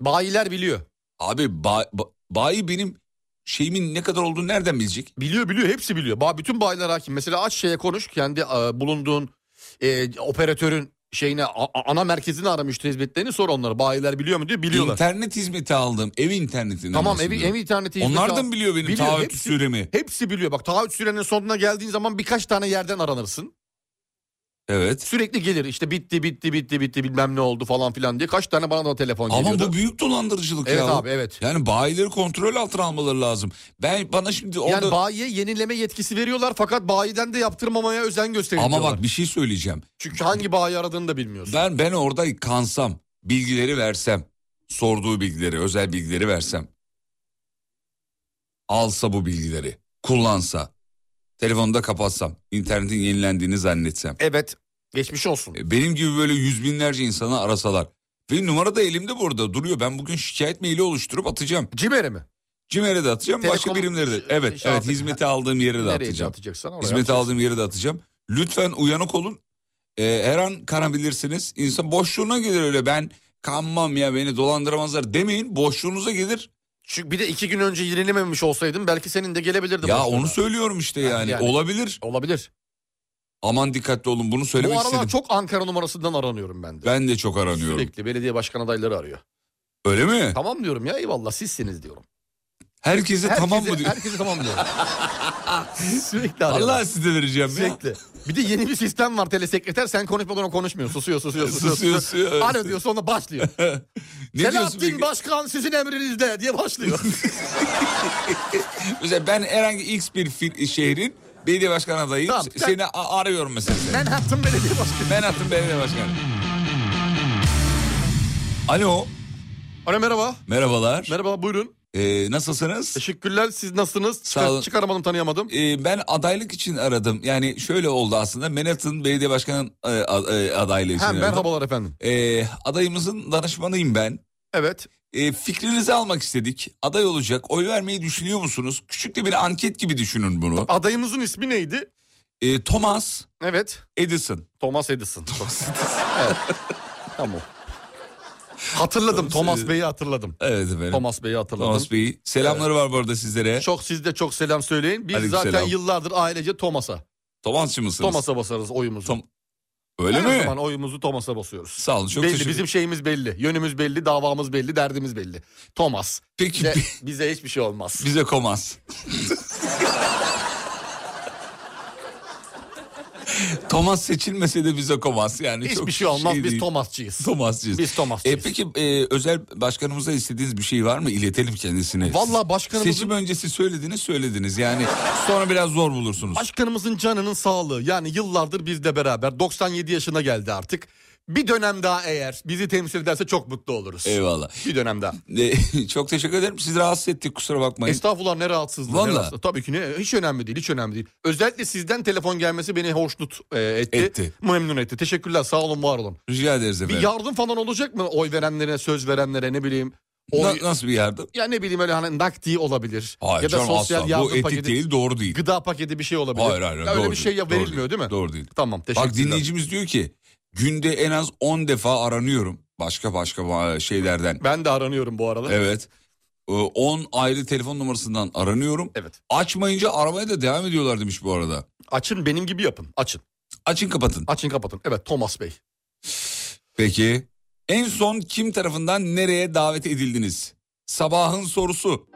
D: Bayiler biliyor.
C: Abi ba- ba- bayi benim şeyimin ne kadar olduğunu nereden bilecek?
D: Biliyor biliyor hepsi biliyor. Ba bütün bayiler hakim. Mesela aç şeye konuş kendi e, bulunduğun e, operatörün şeyine a- a- ana merkezini ara müşteri hizmetlerini sor onlara. Bayiler biliyor mu diyor biliyorlar.
C: İnternet hizmeti aldım. Ev internetinden
D: Tamam evi,
C: bahsediyorum.
D: ev interneti hizmeti
C: Onlar da
D: al-
C: mı biliyor benim
D: Biliyor,
C: taahhüt
D: hepsi-
C: süremi?
D: Hepsi biliyor. Bak taahhüt sürenin sonuna geldiğin zaman birkaç tane yerden aranırsın.
C: Evet.
D: Sürekli gelir işte bitti bitti bitti bitti bilmem ne oldu falan filan diye. Kaç tane bana da telefon
C: Ama
D: geliyordu.
C: bu büyük dolandırıcılık
D: Evet
C: ya.
D: abi evet.
C: Yani bayileri kontrol altına almaları lazım. Ben bana şimdi orada
D: Yani bayiye yenileme yetkisi veriyorlar fakat bayiden de yaptırmamaya özen gösteriyorlar.
C: ama bak bir şey söyleyeceğim.
D: Çünkü hangi bayi aradığını da bilmiyorsun.
C: Ben ben orada kansam, bilgileri versem, sorduğu bilgileri, özel bilgileri versem. Alsa bu bilgileri, kullansa, telefonda kapatsam, internetin yenilendiğini zannetsem.
D: Evet geçmiş olsun.
C: E, Benim gibi böyle yüz binlerce insanı arasalar. Ve numara da elimde burada duruyor. Ben bugün şikayet maili oluşturup atacağım.
D: Cimer'e mi?
C: Cimer'e de atacağım, başka
D: Telekom-
C: birimlere de. Evet,
D: şey
C: evet
D: atacağım.
C: hizmeti aldığım yere de
D: Nereye
C: atacağım.
D: atacaksan oraya
C: Hizmeti aldığım yere de atacağım. Lütfen uyanık olun. Ee, her an kanabilirsiniz. İnsan boşluğuna gelir öyle ben kanmam ya beni dolandıramazlar demeyin. Boşluğunuza gelir.
D: Çünkü bir de iki gün önce yenilememiş olsaydın belki senin de gelebilirdi.
C: ya
D: başlarına.
C: onu söylüyorum işte yani.
D: Yani-
C: Olabilir.
D: Olabilir.
C: Aman dikkatli olun bunu
D: Bu
C: söylemek
D: aralar
C: istedim.
D: çok Ankara numarasından aranıyorum ben de.
C: Ben de çok aranıyorum.
D: Sürekli belediye başkan adayları arıyor.
C: Öyle mi?
D: Tamam diyorum ya eyvallah sizsiniz diyorum.
C: Herkese, tamam
D: Herkese-
C: mı diyor.
D: Herkese tamam diyorum. Sürekli arıyorlar.
C: Allah size vereceğim ya.
D: Sürekli. Bir de yeni bir sistem var telesekreter sen konuşmadan o konuşmuyor. Susuyor susuyor susuyor.
C: Susuyor,
D: susuyor.
C: susuyor, evet.
D: Alo diyor sonra başlıyor.
C: Ne diyorsun
D: Selahattin
C: peki?
D: Başkan sizin emrinizde diye başlıyor.
C: Mesela ben herhangi X bir fil- şehrin belediye başkan adayıyım.
D: Tamam,
C: S-
D: sen-
C: Seni a- arıyorum mesela.
D: Manhattan Belediye Başkanı.
C: Manhattan belediye başkanı. Alo.
D: Alo merhaba.
C: Merhabalar.
D: Merhaba buyurun.
C: Ee, nasılsınız?
D: Teşekkürler siz nasılsınız?
C: Sağ
D: Çıkar,
C: olun.
D: çıkaramadım tanıyamadım.
C: Ee, ben adaylık için aradım. Yani şöyle oldu aslında. Manhattan Belediye Başkanı e, a- e, adaylığı için
D: Ha,
C: aradım.
D: merhabalar efendim.
C: Ee, adayımızın danışmanıyım ben.
D: Evet.
C: Ee, fikrinizi almak istedik. Aday olacak. Oy vermeyi düşünüyor musunuz? Küçük de bir anket gibi düşünün bunu.
D: Adayımızın ismi neydi?
C: Ee, Thomas
D: Evet.
C: Edison.
D: Thomas Edison. Evet. Tamam. Hatırladım Thomas Bey'i hatırladım.
C: Evet efendim.
D: Thomas Bey'i hatırladım.
C: Thomas Bey. Selamları var bu arada sizlere.
D: Çok sizde çok selam söyleyin. Biz
C: Aleyküm
D: zaten
C: selam.
D: yıllardır ailece Thomas'a.
C: Thomasçı mısınız?
D: Thomas'a basarız oyumuzu.
C: Tom- Öyle
D: Her
C: mi?
D: zaman oyumuzu Thomas'a basıyoruz.
C: Sağ olun. Çok
D: belli
C: teşekkür
D: bizim şeyimiz belli. Yönümüz belli, davamız belli, derdimiz belli. Thomas.
C: Peki
D: Bize, bize hiçbir şey olmaz.
C: bize Komas. Thomas seçilmese de bize Komas yani. çok
D: Hiçbir şey olmaz. Biz
C: değil.
D: Thomas'çıyız.
C: Thomasçıyız.
D: Biz
C: E
D: Thomas'çıyız.
C: peki e, özel başkanımıza istediğiniz bir şey var mı? İletelim kendisine.
D: Vallahi başkanımızın-
C: Seçim öncesi söylediğiniz söylediniz. Yani sonra biraz zor bulursunuz.
D: Başkanımızın canının sağlığı yani yıllardır bizle beraber 97 yaşına geldi artık. Bir dönem daha eğer bizi temsil ederse çok mutlu oluruz.
C: Eyvallah.
D: Bir dönem daha.
C: E, çok teşekkür ederim. Sizi rahatsız ettik kusura bakmayın.
D: Estağfurullah ne rahatsızlığı. ne
C: Vallahi.
D: rahatsızlığı. Tabii ki ne hiç önemli değil hiç önemli değil. Özellikle sizden telefon gelmesi beni hoşnut e, etti.
C: Etti.
D: Memnun etti. Teşekkürler sağ olun var olun.
C: Rica ederiz
D: Bir
C: efendim.
D: yardım falan olacak mı oy verenlere söz verenlere ne bileyim. Oy,
C: Na- nasıl bir yardım?
D: ya ne bileyim öyle hani nakdi olabilir.
C: Hayır
D: ya da
C: canım
D: sosyal
C: asla.
D: yardım
C: Bu etik
D: paketi.
C: değil doğru değil.
D: Gıda paketi bir şey olabilir.
C: Hayır hayır.
D: Ya
C: doğru
D: öyle bir şey ya
C: doğru
D: verilmiyor değil mi?
C: Doğru değil.
D: Tamam teşekkürler.
C: Bak dinleyicimiz diyor ki günde en az 10 defa aranıyorum. Başka başka ba- şeylerden.
D: Ben de aranıyorum bu aralar.
C: Evet. Ee, 10 ayrı telefon numarasından aranıyorum.
D: Evet.
C: Açmayınca aramaya da devam ediyorlar demiş bu arada.
D: Açın benim gibi yapın. Açın.
C: Açın kapatın.
D: Açın kapatın. Evet Thomas Bey.
C: Peki. En son kim tarafından nereye davet edildiniz? Sabahın sorusu.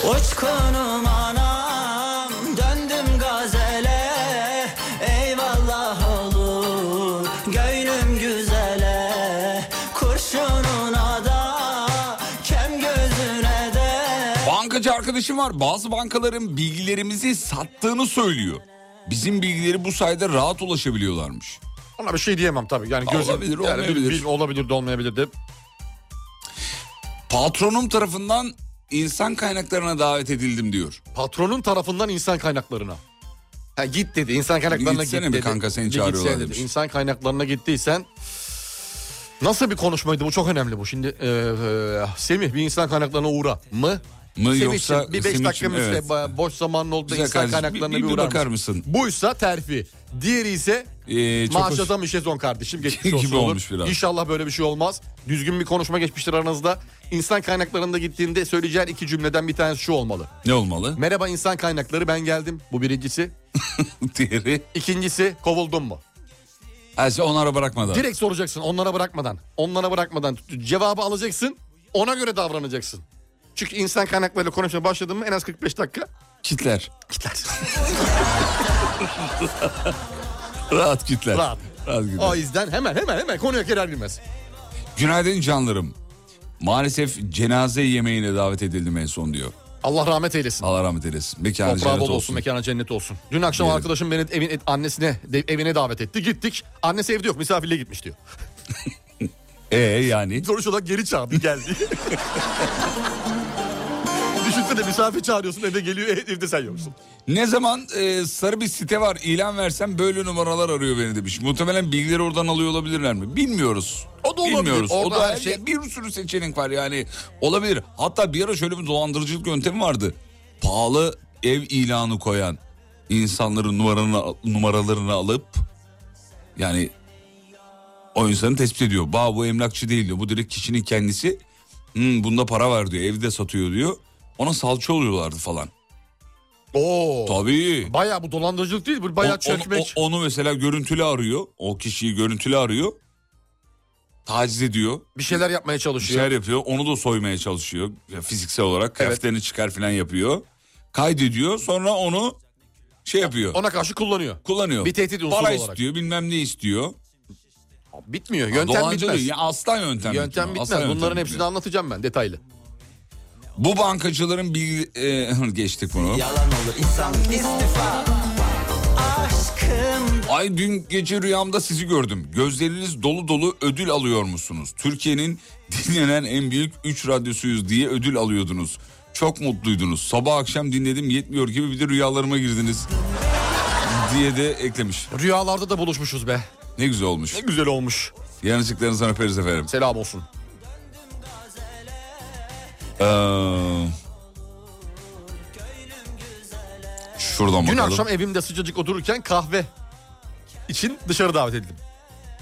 E: Uçkunum anam döndüm gazele Eyvallah olur gönlüm güzele Kurşununa da kem gözüne de
C: Bankacı arkadaşım var. Bazı bankaların bilgilerimizi sattığını söylüyor. Bizim bilgileri bu sayede rahat ulaşabiliyorlarmış.
D: Ona bir şey diyemem tabii. Yani gözüm,
C: Olabilir,
D: yani bil-
C: olmayabilir.
D: bil- olabilir de olmayabilir de.
C: Patronum tarafından insan kaynaklarına davet edildim diyor.
D: Patronun tarafından insan kaynaklarına. Ha, git dedi. insan kaynaklarına
C: Gitsene
D: git
C: bir
D: dedi.
C: kanka, seni
D: Bir gitsene
C: çağırıyorlar
D: dedi.
C: demiş.
D: İnsan kaynaklarına gittiysen e, Nasıl bir konuşmaydı bu çok önemli bu şimdi. Ee, e, Semih bir insan kaynaklarına uğra mı?
C: mı
D: Sevinç'im,
C: yoksa
D: bir 5
C: Sevinç'im,
D: dakikamız
C: evet.
D: ve boş zamanın olduğu
C: Güzel
D: insan
C: kardeşim,
D: kaynaklarına
C: bir-
D: bir,
C: bir
D: uğrar
C: bakar mısın?
D: Buysa terfi. Diğeri ise
C: Ee, çok
D: maaş
C: hoş-
D: adam işe son kardeşim. Geçmiş
C: Gibi
D: olsun olur.
C: olmuş biraz.
D: İnşallah böyle bir şey olmaz. Düzgün bir konuşma geçmiştir aranızda. İnsan kaynaklarında gittiğinde söyleyeceğin iki cümleden bir tanesi şu olmalı.
C: Ne olmalı?
D: Merhaba insan kaynakları ben geldim. Bu birincisi.
C: Diğeri.
D: İkincisi kovuldun mu?
C: Ha, sen şey onlara bırakmadan.
D: Direkt soracaksın onlara bırakmadan. Onlara bırakmadan cevabı alacaksın. Ona göre davranacaksın. Çünkü insan kaynaklarıyla konuşmaya başladın mı en az 45 dakika
C: Kitler.
D: kitler.
C: Rahat kitler.
D: Rahat.
C: Rahat kitler.
D: o yüzden hemen hemen hemen konuya girer girmez.
C: Günaydın canlarım. Maalesef cenaze yemeğine davet edildim en son diyor.
D: Allah rahmet eylesin.
C: Allah rahmet eylesin. Mekanı
D: Toprağı
C: cennet
D: bol olsun.
C: olsun.
D: mekana cennet olsun. Dün akşam
C: Diyelim.
D: arkadaşım beni evin, et- annesine de- evine davet etti. Gittik. Annesi evde yok misafirliğe gitmiş diyor.
C: Ee yani.
D: Sonuç olarak geri çağırdı geldi. Düşünsene misafir çağırıyorsun eve geliyor ev- evde sen yoksun.
C: Ne zaman e, sarı bir site var ilan versem böyle numaralar arıyor beni demiş. Muhtemelen bilgileri oradan alıyor olabilirler mi? Bilmiyoruz.
D: O da olabilir.
C: Bilmiyoruz. O
D: Orada
C: da
D: her
C: her
D: şey-
C: bir sürü seçenek var yani. Olabilir. Hatta bir ara şöyle bir dolandırıcılık yöntemi vardı. Pahalı ev ilanı koyan insanların numaranı, numaralarını alıp yani o insanı tespit ediyor. Ba bu emlakçı değil diyor. Bu direkt kişinin kendisi. Hmm, bunda para var diyor. Evde satıyor diyor. Ona salça oluyorlardı falan.
D: Oo.
C: Tabii.
D: Bayağı bu dolandırıcılık değil bu bayağı
C: O- onu-
D: çökmek.
C: o- Onu, mesela görüntülü arıyor. O kişiyi görüntülü arıyor. Taciz ediyor.
D: bir şeyler yapmaya
C: Bir
D: çalışıyor.
C: şeyler yapıyor. Onu da soymaya çalışıyor. Ya Fiziksel olarak
D: Evet.
C: kıyafetlerini çıkar falan yapıyor. Kaydediyor. Sonra onu şey yapıyor.
D: Ona karşı kullanıyor.
C: kullanıyor.
D: Bir tehdit unsuru
C: Para
D: olarak.
C: istiyor bilmem ne istiyor.
D: Bitmiyor. Yöntem
C: Dolandırıyor.
D: bitmez.
C: Ya asla yöntem,
D: Yöntem
C: bitmiyor.
D: bitmez.
C: Asla yöntem
D: Bunların hepsini
C: bitmiyor.
D: anlatacağım ben detaylı.
C: Bu bankacıların bilgi... e, geçtik bunu.
E: Yalan olur insan istifa Aşkım
C: Ay dün gece rüyamda sizi gördüm. Gözleriniz dolu dolu ödül alıyor musunuz? Türkiye'nin dinlenen en büyük 3 radyosuyuz diye ödül alıyordunuz. Çok mutluydunuz. Sabah akşam dinledim yetmiyor gibi bir de rüyalarıma girdiniz. diye de eklemiş.
D: Rüyalarda da buluşmuşuz be.
C: Ne güzel olmuş.
D: Ne güzel olmuş.
C: Yanlışlıklarınızdan öperiz efendim.
D: Selam olsun.
C: Ee, şuradan
D: Dün
C: bakalım.
D: akşam evimde sıcacık otururken kahve için dışarı davet edildim.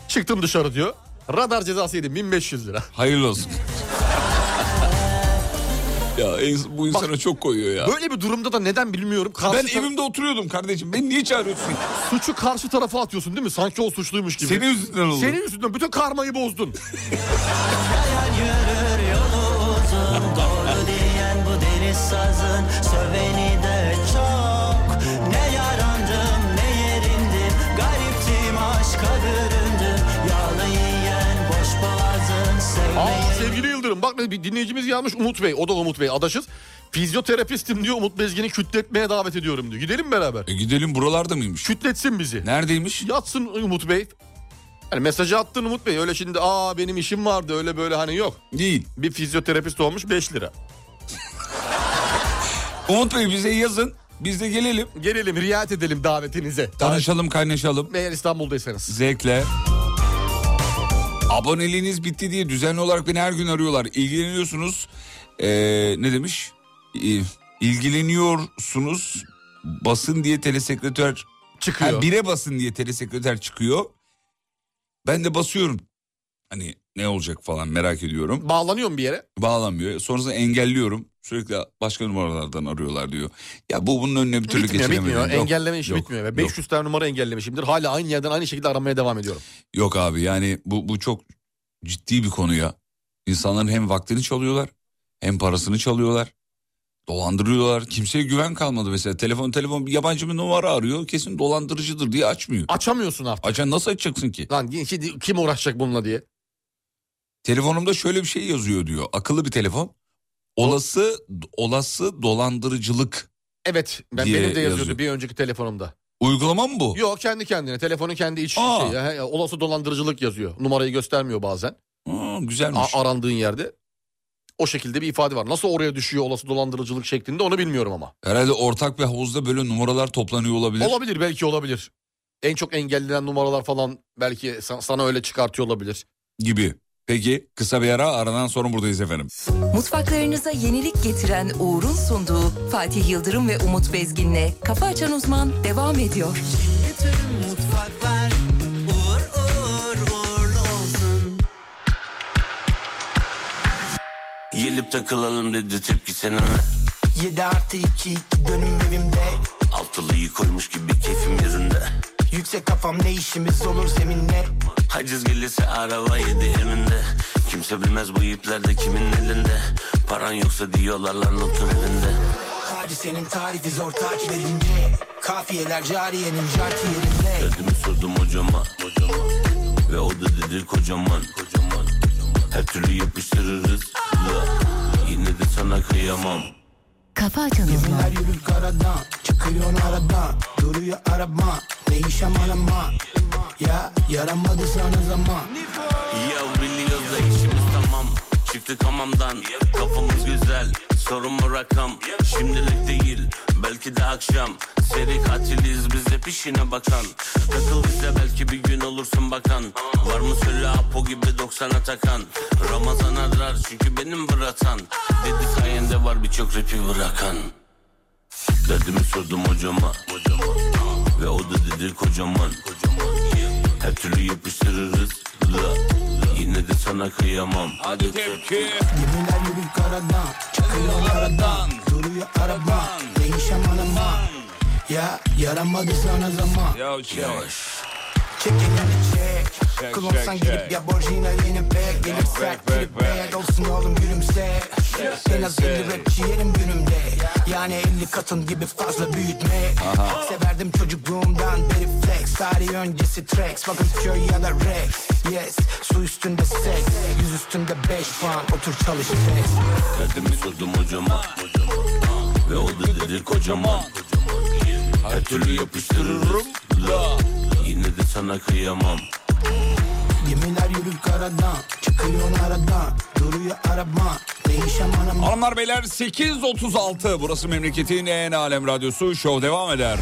D: Çıktım dışarı diyor. Radar cezası yedim 1500 lira.
C: Hayırlı olsun. ya en- bu insana çok koyuyor ya.
D: Böyle bir durumda da neden bilmiyorum. Karşı
C: Ben
D: ta-
C: evimde oturuyordum kardeşim. Beni niye çağırıyorsun?
D: Suçu karşı tarafa atıyorsun değil mi? Sanki o suçluymuş gibi.
C: Senin yüzünden oldu.
D: Senin yüzünden bütün karmayı bozdun.
E: Doğru diyen bu deli sazın Söveni de çok Ne yarandım ne yerindim Gariptim aşka büründüm Yağlı yiyen boş boğazın Sevmeyi
D: Aa sevgili Yıldırım bak ne- bir dinleyicimiz yazmış Umut Bey. O da Umut Bey adaşız. Fizyoterapistim diyor Umut Bezgin'i kütletmeye davet ediyorum diyor. Gidelim beraber.
C: E gidelim buralarda mıymış?
D: Kütletsin bizi.
C: Neredeymiş?
D: Yatsın Umut Bey. Hani mesajı attın Umut Bey. Öyle şimdi aa benim işim vardı öyle böyle hani yok.
C: Değil.
D: Bir fizyoterapist olmuş 5 lira.
C: Umut Bey bize yazın. Biz de gelelim.
D: Gelelim riayet edelim davetinize.
C: Tanışalım, kaynaşalım.
D: Eğer İstanbul'daysanız.
C: Zevkle. Aboneliğiniz bitti diye düzenli olarak beni her gün arıyorlar. İlgileniyorsunuz. Ee, ne demiş? İ- İlgileniyorsunuz. Basın diye telesekreter...
D: Çıkıyor.
C: Ha, bire basın diye telesekreter çıkıyor. Ben de basıyorum. Hani ne olacak falan merak ediyorum.
D: Bağlanıyor mu bir yere?
C: bağlanmıyor. Sonrasında engelliyorum. Sürekli başka numaralardan arıyorlar diyor. Ya bu bunun önüne bir türlü
D: bitmiyor
C: geçiremedim.
D: bitmiyor.
C: Yok,
D: Engelleme işi
C: yok,
D: bitmiyor. Ve
C: yok.
D: 500 tane numara engellemişimdir. Hala aynı yerden aynı şekilde aramaya devam ediyorum.
C: Yok abi yani bu, bu çok ciddi bir konu ya. İnsanların hem vaktini çalıyorlar hem parasını çalıyorlar. Dolandırıyorlar. Kimseye güven kalmadı mesela. Telefon telefon bir yabancı bir numara arıyor. Kesin dolandırıcıdır diye açmıyor.
D: Açamıyorsun artık.
C: Açan nasıl açacaksın ki?
D: Lan şimdi kim uğraşacak bununla diye.
C: Telefonumda şöyle bir şey yazıyor diyor. Akıllı bir telefon. Olası olası dolandırıcılık.
D: Evet ben
C: Diye
D: benim de yazıyordu
C: yazıyor.
D: bir önceki telefonumda.
C: Uygulama mı bu?
D: Yok kendi kendine telefonun kendi iç
C: Aa.
D: şeyi. He, he, Olası dolandırıcılık yazıyor. Numarayı göstermiyor bazen.
C: Aa, güzelmiş.
D: A- arandığın yerde. O şekilde bir ifade var. Nasıl oraya düşüyor olası dolandırıcılık şeklinde onu bilmiyorum ama.
C: Herhalde ortak bir havuzda böyle numaralar toplanıyor olabilir.
D: Olabilir belki olabilir. En çok engellenen numaralar falan belki sa- sana öyle çıkartıyor olabilir.
C: gibi. Peki kısa bir ara aradan sonra buradayız efendim.
A: Mutfaklarınıza yenilik getiren Uğur'un sunduğu Fatih Yıldırım ve Umut Bezgin'le Kafa Açan Uzman devam ediyor.
J: Bütün mutfaklar uğur uğur uğurlu olsun.
K: Gelip takılalım dedi tepkisine
J: 7 artı 2 iki dönüm evimde
K: Altılıyı koymuş gibi keyfim yerinde
J: Yüksek kafam ne işimiz olur zeminle
K: Haciz gelirse araba yedi elinde Kimse bilmez bu iplerde kimin elinde Paran yoksa diyorlar lan notun elinde
J: Hadisenin tarifi zor takip edince Kafiyeler cariyenin jarti yerinde
K: Derdimi sordum hocama Ve o da dedi kocaman Her türlü yapıştırırız La. Yine de sana kıyamam
A: Kafa Açan Uzman.
J: Her yürür karadan Çıkıyor aradan Duruyor araba Değişem arama Ya yaramadı sana zaman
K: Ya biliyoruz da işimiz tamam Çıktık hamamdan Kafamız güzel Sorun mu rakam Şimdilik değil Belki de akşam Seri katiliz biz hep işine bakan Takıl bize belki bir gün olursun bakan Var mı söyle Apo gibi 90'a takan Ramazan arar çünkü benim bıratan Dedi sayende var birçok rapi bırakan Derdimi sordum hocama Ve o da dedi kocaman Her türlü yapıştırırız La. Yine de sana kıyamam Hadi tepki
J: Gemiler yürür karadan Çıkıyor aradan Duruyor araba Değişem arama Ya yaramadı sana zaman
C: Yavaş yavaş.
J: Çek elini çek
C: Çek,
J: Klonsan
C: çek,
J: girip
C: çek.
J: ya borcuna yeni pek Gelip sert
C: back,
J: girip bad
C: back.
J: Olsun oğlum gülümse En az 50 rapçi yerim günümde Yani 50 katın gibi fazla büyütme Severdim çocukluğumdan beri flex Tarih öncesi tracks Bakın köy ya da rex Yes Su üstünde seks Yüz üstünde 5 puan Otur çalış test
K: Derdimi sordum hocama Ve o da dedi kocaman Her türlü yapıştırırım La. Yine de sana kıyamam
J: Gemiler yürür karadan Çıkıyor aradan Duruyor araba Değişen anam
C: Hanımlar beyler 8.36 burası memleketin en alem radyosu şov devam eder.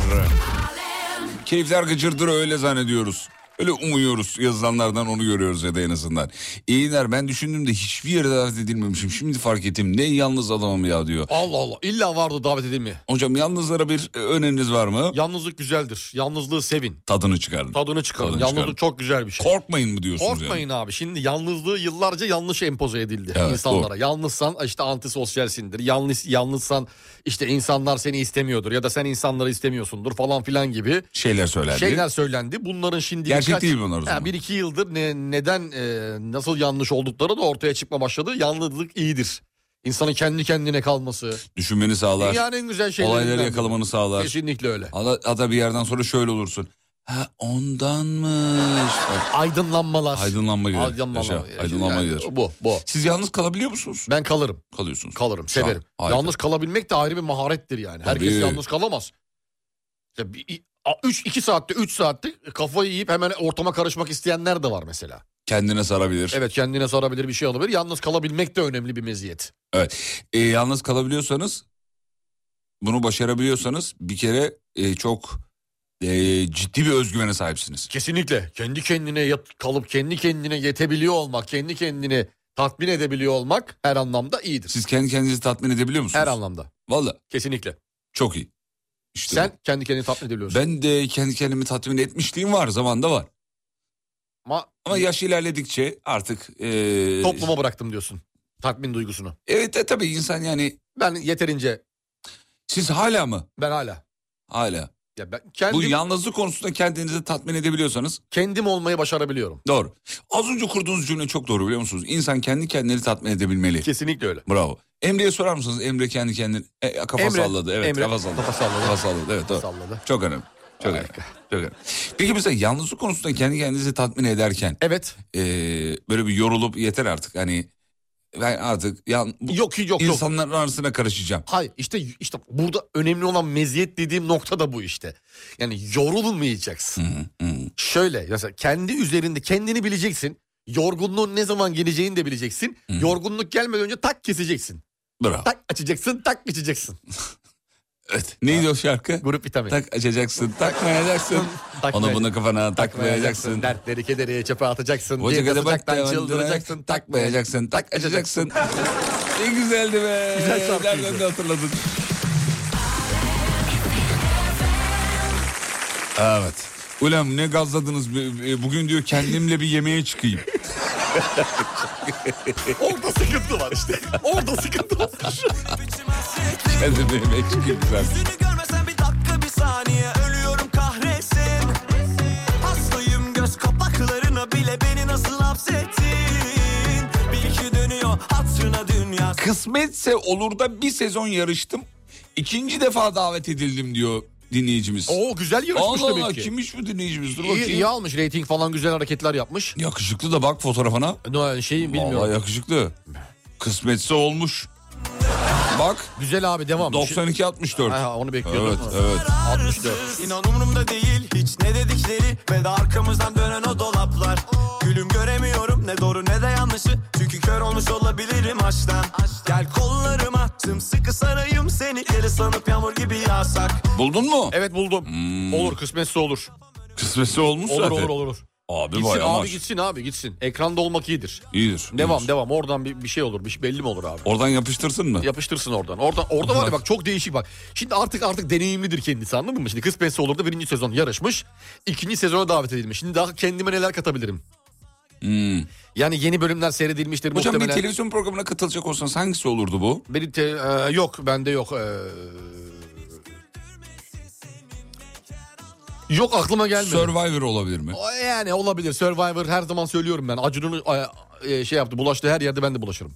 C: Keyifler gıcırdır öyle zannediyoruz. Öyle umuyoruz yazılanlardan onu görüyoruz ya da en azından. İyinler ben düşündüm de hiçbir yere davet edilmemişim. Şimdi fark ettim ne yalnız adamım ya diyor.
D: Allah Allah illa vardı davet edilme.
C: Hocam yalnızlara bir e, öneriniz var mı?
D: Yalnızlık güzeldir. Yalnızlığı sevin.
C: Tadını çıkarın.
D: Tadını çıkarın.
C: Tadını
D: Yalnızlık
C: çıkarın.
D: çok güzel bir şey.
C: Korkmayın mı diyorsunuz
D: Korkmayın abi. Şimdi yalnızlığı yıllarca yanlış empoze edildi
C: Evet,
D: insanlara.
C: doğru.
D: Yalnızsan işte antisosyalsindir. Yalnız yalnızsan işte insanlar seni istemiyordur ya da sen insanları istemiyorsundur falan filan gibi
C: yani? Şeyler söylendi.
D: şeyler söylendi. Bunların şimdi
C: Gerçek değil bunlar o
D: Ha,
C: zaman.
D: bir iki yıldır ne, neden e, nasıl yanlış oldukları da ortaya çıkma başladı. Yalnızlık iyidir. İnsanın kendi kendine kalması.
C: Düşünmeni sağlar.
D: Dünyanın en güzel şeylerinden.
C: olayları
D: biri.
C: yakalamanı sağlar.
D: Kesinlikle öyle.
C: Ada, ada bir yerden sonra şöyle olursun. Ha ondanmış. Bak,
D: Aydınlanmalar.
C: Aydınlanma gelir.
D: Aydınlanma.
C: Yaşa, aydınlanma
D: Yani
C: gelir.
D: Bu bu.
C: Siz yalnız kalabiliyor musunuz?
D: Ben kalırım.
C: Kalıyorsunuz.
D: Kalırım,
C: Şah-
D: severim.
C: harika.
D: Yalnız kalabilmek de ayrı bir maharettir yani. Herkes
C: Tabii.
D: yalnız kalamaz. Ya bir, a- üç, iki saatte, üç saatte kafayı yiyip hemen ortama karışmak isteyenler de var mesela.
C: Kendine sarabilir. Evet.
D: Evet kendine sarabilir bir şey alabilir. Yalnız kalabilmek de önemli bir meziyet.
C: E, yalnız kalabiliyorsanız bunu başarabiliyorsanız bir kere e, çok e, ciddi bir özgüvene sahipsiniz.
D: Kesinlikle. Kendi kendine yat- kalıp kendi kendine yetebiliyor olmak, kendi kendini tatmin edebiliyor olmak her anlamda iyidir.
C: Siz kendi kendinizi tatmin edebiliyor musunuz?
D: her anlamda.
C: Valla
D: Kesinlikle.
C: çok iyi. İşte
D: Sen kendi kendini tatmin
C: bu.
D: edebiliyorsun.
C: Ben de kendi kendimi tatmin etmişliğim var zamanda var.
D: Ama,
C: Ama yaş ilerledikçe artık... e,
D: topluma bıraktım diyorsun tatmin duygusunu.
C: Evet e, tabii insan yani
D: Ben yeterince,
C: siz hala mı?
D: ben hala.
C: Hala.
D: Ya ben kendim...
C: Bu yalnızlık konusunda kendinizi tatmin edebiliyorsanız
D: kendim olmayı başarabiliyorum.
C: doğru. Az önce kurduğunuz cümle çok doğru biliyor musunuz? İnsan kendi kendini tatmin edebilmeli.
D: Kesinlikle öyle.
C: Bravo. Emre'ye sorar mısınız? Emre kendi kendini e, kafa
D: Emre,
C: salladı. Evet
D: Emre
C: kafa salladı.
D: kafa salladı.
C: Kafa salladı. Evet doğru.
D: Salladı.
C: Çok önemli. Çok önemli. Çok önemli. Peki mesela yalnızlık konusunda kendi kendinizi tatmin ederken
D: Evet.
C: e, böyle bir yorulup yeter artık hani ben artık yan, bu
D: Yok yok yok.
C: insanların arasına karışacağım.
D: Hayır işte işte burada önemli olan meziyet dediğim nokta da bu işte. Yani yorulmayacaksın.
C: Hı, hı.
D: Şöyle mesela kendi üzerinde kendini bileceksin. Yorgunluğun ne zaman geleceğini de bileceksin. Yorgunluk gelmeden önce tak keseceksin.
C: Bravo.
D: Tak açacaksın, tak geçeceksin.
C: Evet. Neydi o şarkı?
D: Grup vitamin.
C: Tak açacaksın, takmayacaksın. Onu
D: Takmay-
C: bunu kafana takmayacaksın.
D: Dertleri kederi çöpe atacaksın.
C: Hoca
D: Bir
C: kadar bak
D: basacaktan
C: da
D: çıldıracaksın.
C: takmayacaksın, tak açacaksın. ne güzeldi be.
D: Güzel şarkıydı.
C: Nereden de hatırladın. Evet. Ulan ne gazladınız. B- b- Bugün diyor kendimle bir yemeğe çıkayım.
D: Orada sıkıntı var işte. Orada sıkıntı var.
C: Kendimle yemeğe çıkayım güzel.
E: Yüzünü görmesen bir dakika bir saniye ölüyorum kahretsin Hastayım göz kapaklarına bile beni nasıl hapsettin Bil ki dönüyor hatırına dünya
C: Kısmetse olur da bir sezon yarıştım. İkinci defa davet edildim diyor dinleyicimiz.
D: Oo güzel yarışmış
C: Allah Allah
D: demek ki.
C: kimmiş bu dinleyicimiz? Dur
D: İyi,
C: bakayım.
D: iyi almış reyting falan güzel hareketler yapmış.
C: Yakışıklı da bak fotoğrafına.
D: Ne şey bilmiyorum.
C: Vallahi yakışıklı. Kısmetse olmuş. Bak
D: Güzel abi devam.
C: 92 64.
D: Ha, onu bekliyordum.
C: Evet evet.
D: 64.
E: İnan umurumda değil hiç ne dedikleri Ve de arkamızdan dönen o dolaplar Gülüm göremiyorum ne doğru ne de yanlışı Çünkü kör olmuş olabilirim açtan Gel kollarıma sımsıkı sarayım seni Geri sanıp yağmur gibi yağsak
C: Buldun mu?
D: Evet buldum.
C: Hmm.
D: Olur kısmetse olur.
C: Kısmetse olmuş
D: Olur
C: zaten.
D: olur olur.
C: Abi
D: Gitsin
C: bayağı
D: abi
C: maç.
D: gitsin abi gitsin. Ekranda olmak iyidir.
C: İyidir.
D: Devam
C: iyidir.
D: devam oradan bir, bir şey olur. Bir, şey- belli mi olur abi?
C: Oradan yapıştırsın mı?
D: Yapıştırsın oradan. Oradan orada var ya bak çok değişik bak. Şimdi artık artık deneyimlidir kendisi anladın mı? Şimdi kısmetse olur da birinci sezon yarışmış. ikinci sezona davet edilmiş. Şimdi daha kendime neler katabilirim?
C: Hmm.
D: Yani yeni bölümler seyredilmiştir
C: Hocam bir
D: muhtemelen.
C: televizyon programına katılacak olsanız hangisi olurdu bu?
D: Benim te- e, yok bende yok. E, yok aklıma gelmedi.
C: Survivor olabilir mi?
D: O yani olabilir. Survivor her zaman söylüyorum ben. Acun'un e, e, şey yaptı bulaştı her yerde ben de bulaşırım.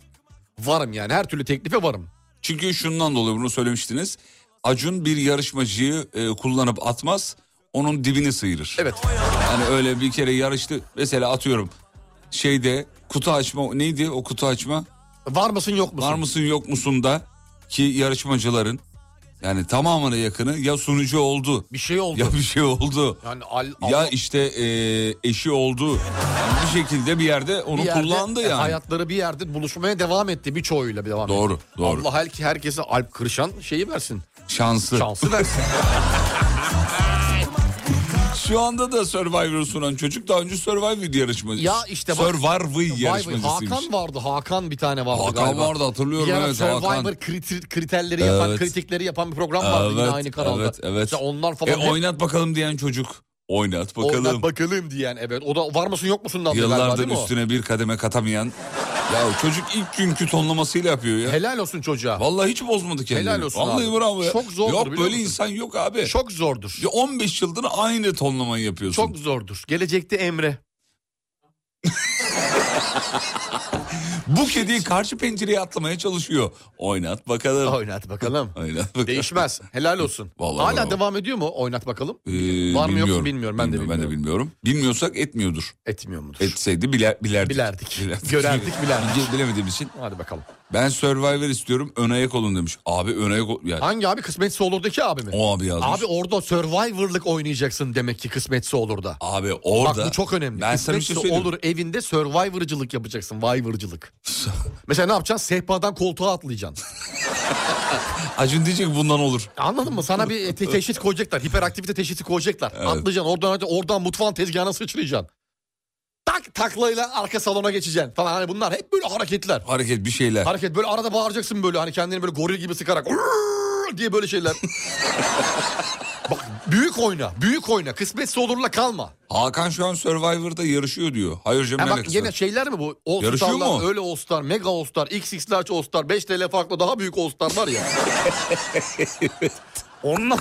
D: Varım yani her türlü teklife varım.
C: Çünkü şundan dolayı bunu söylemiştiniz. Acun bir yarışmacıyı e, kullanıp atmaz, onun dibini sıyırır.
D: Evet.
C: Hani öyle bir kere yarıştı. Mesela atıyorum şeyde kutu açma neydi o kutu açma?
D: Var mısın yok musun?
C: Var mısın yok musun da ki yarışmacıların yani tamamına yakını ya sunucu oldu
D: Bir şey oldu.
C: ya bir şey oldu.
D: yani al,
C: Ya
D: Allah-
C: işte e, eşi oldu. Yani bir şekilde bir yerde onu
D: bir yerde e,
C: kullandı yani.
D: Hayatları bir yerde buluşmaya devam etti birçoğuyla devam etti.
C: Doğru, doğru.
D: Allah her, herkese alp kırışan şeyi versin.
C: Şansı.
D: Şansı versin.
C: Şu anda da Survivor sunan çocuk daha önce Survivor yarışmacısı.
D: Ya işte bak-
C: Survivor
D: Vay vay,
C: yarışmacısıymış.
D: Hakan vardı. Hakan bir tane vardı
C: Hakan
D: galiba.
C: vardı, hatırlıyorum,
D: Bir ara
C: evet,
D: Survivor
C: Hakan.
D: kriter- kriterleri yapan,
C: Evet.
D: kritikleri yapan bir program vardı yine aynı kanalda.
C: Evet, evet.
D: İşte onlar falan
C: E,
D: hep
C: oynat bakalım diyen çocuk. Oynat bakalım.
D: Oynat bakalım diyen evet. O da var mısın yok musun adlı galiba
C: Yıllardır
D: değil mi o?
C: üstüne bir kademe katamayan. ya çocuk ilk günkü tonlamasıyla yapıyor ya.
D: Helal olsun çocuğa.
C: Vallahi hiç bozmadı kendini.
D: Helal olsun
C: Vallahi
D: abi.
C: bravo ya.
D: Çok zordur
C: Yok
D: biliyor
C: böyle
D: musun?
C: insan yok abi.
D: Çok zordur.
C: Ya 15 yıldır aynı tonlamayı yapıyorsun.
D: Çok zordur. Gelecekte Emre.
C: Bu kediyi karşı pencereye atlamaya çalışıyor. Oynat bakalım.
D: Oynat bakalım.
C: Oynat bakalım.
D: Değişmez. Helal olsun.
C: Vallahi
D: Hala
C: bravo.
D: devam ediyor mu? Oynat bakalım.
C: Ee,
D: Var mı yok
C: bilmiyorum.
D: mu bilmiyorum. Ben de bilmiyorum.
C: Ben de bilmiyorum. Bilmiyorsak etmiyordur.
D: Etmiyor mudur?
C: Etseydi bile, bilerdik.
D: Bilerdik. Görerdik, bilerdik.
C: Bilge- Bilemediğimiz için.
D: Hadi bakalım.
C: Ben Survivor istiyorum ön ayak olun demiş. Abi ön ayak ol... Yani,
D: Hangi abi kısmetse olurdaki abi mi?
C: o abi yazmış.
D: Abi orada survivor'lık oynayacaksın demek ki kısmetse olur da.
C: Abi orada...
D: Bak bu çok önemli.
C: Ben sana bir
D: kısmetse
C: şey söyleyeyim.
D: olur evinde survivor'cılık yapacaksın. Vivor'cılık. Mesela ne yapacaksın? Sehpadan koltuğa atlayacaksın.
C: Acun diyecek ki bundan olur.
D: Anladın mı? Sana bir e, te- teşhis koyacaklar. Hiperaktivite teşhisi koyacaklar. Atlayacaksın. Oradan oradan mutfağın tezgahına sıçrayacaksın. Tak taklayla arka salona geçeceksin falan. Hani bunlar hep böyle hareketler.
C: Hareket bir şeyler.
D: Hareket böyle arada bağıracaksın böyle hani kendini böyle goril gibi sıkarak "Urr!" diye böyle şeyler. Bak büyük oyna, büyük oyna. Kısmetse olurla kalma.
C: Hakan şu an Survivor'da yarışıyor diyor. Hayır hocam
D: Ha
C: ne
D: bak
C: alakası
D: yine
C: var?
D: şeyler mi bu? All
C: Yarışıyor
D: Star'lar,
C: mu?
D: Öyle All Star, Mega All Star, XX Large All Star, 5 TL farklı daha büyük All Star var ya. Onlar...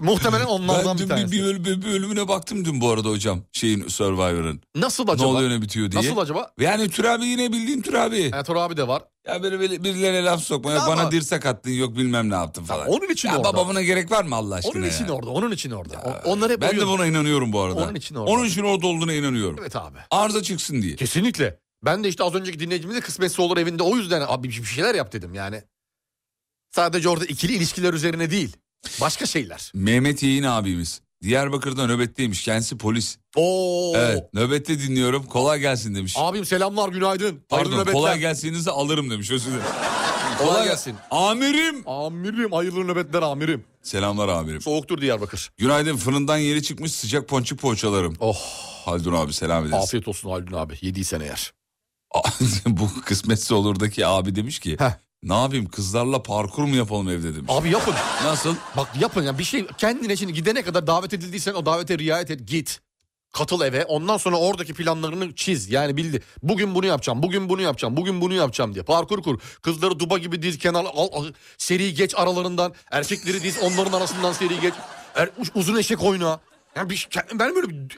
D: Muhtemelen
C: Ben
D: onlardan bir
C: dün bir,
D: tanesi.
C: bir, böl- bir bölümüne baktım dün bu arada hocam. Şeyin Survivor'ın.
D: Nasıl
C: Ne
D: acaba?
C: oluyor ne bitiyor diye.
D: Nasıl acaba?
C: Yani türabi yine bildiğin türabi.
D: Ertuğrul abi de var.
C: Ya böyle, böyle birilerine laf sokma. Yok
D: Ama-
C: bana dirsek attın yok bilmem ne yaptın falan.
D: onun için
C: ya
D: orada.
C: baba buna gerek var mı Allah aşkına
D: Onun için
C: ya?
D: orada, onun için orada. O- Onlar hep
C: Ben de
D: oyun.
C: buna inanıyorum bu arada.
D: Onun için orada.
C: Onun için orada olduğuna inanıyorum.
D: Evet abi.
C: Arıza çıksın diye.
D: Kesinlikle. Ben de işte az önceki dinleyicimize kısmetse olur evinde o yüzden abi bir şeyler yap dedim yani. Sadece orada ikili ilişkiler üzerine değil. Başka şeyler.
C: Mehmet Yeğin abimiz. Diyarbakır'da nöbetteymiş. Kendisi polis.
D: Oo.
C: Evet nöbette dinliyorum. Kolay gelsin demiş.
D: Abim selamlar günaydın. Hayırlı
C: Pardon
D: nöbetler.
C: kolay gelsininizi alırım demiş. Özür dilerim.
D: Kolay gelsin.
C: Amirim.
D: Amirim hayırlı nöbetler amirim.
C: Selamlar amirim.
D: Soğuktur Diyarbakır.
C: Günaydın fırından yeni çıkmış sıcak ponçik poğaçalarım.
D: Oh
C: Haldun abi selam ederiz.
D: afiyet olsun Haldun abi yediysen eğer.
C: Bu kısmetse olurdaki abi demiş ki
D: Heh.
C: ne yapayım kızlarla parkur mu yapalım evde demiş.
D: Abi yapın.
C: Nasıl?
D: Bak yapın ya bir şey kendine şimdi gidene kadar davet edildiysen o davete riayet et git. Katıl eve ondan sonra oradaki planlarını çiz. Yani bildi bugün bunu yapacağım bugün bunu yapacağım bugün bunu yapacağım diye. Parkur kur kızları duba gibi diz kenar al, al- seri geç aralarından erkekleri diz onların arasından seri geç. Er- uz- uzun eşek oyna. Yani bir, şey- ben böyle bir-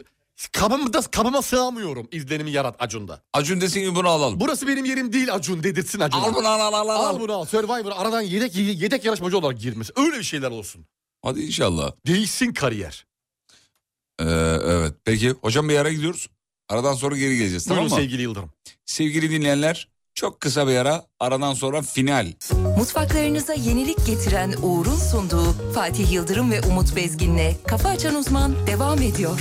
D: kabıma, da- kabıma sığamıyorum izlenimi yarat Acun'da.
C: Acun desin ki bunu alalım.
D: Burası benim yerim değil Acun dedirsin Acun'a.
C: Al bunu al al al. al.
D: Al bunu al. Survivor aradan yedek, yedek yarışmacı olarak girmesi. Öyle bir şeyler olsun.
C: Hadi inşallah.
D: Değişsin kariyer.
C: Ee, evet peki hocam bir ara gidiyoruz. Aradan sonra geri geleceğiz tamam
D: Buyurun
C: mı?
D: sevgili Yıldırım.
C: Sevgili dinleyenler çok kısa bir ara aradan sonra final.
A: Mutfaklarınıza yenilik getiren Uğur'un sunduğu Fatih Yıldırım ve Umut Bezgin'le Kafa Açan Uzman devam ediyor.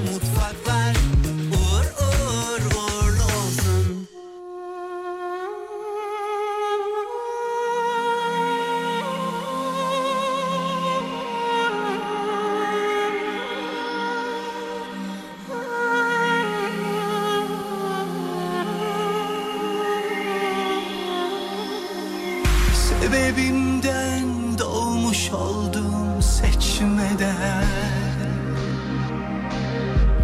E: mutfaklar uğur uğur uğurlu olsun. Sebebimden doğmuş oldum seçmeden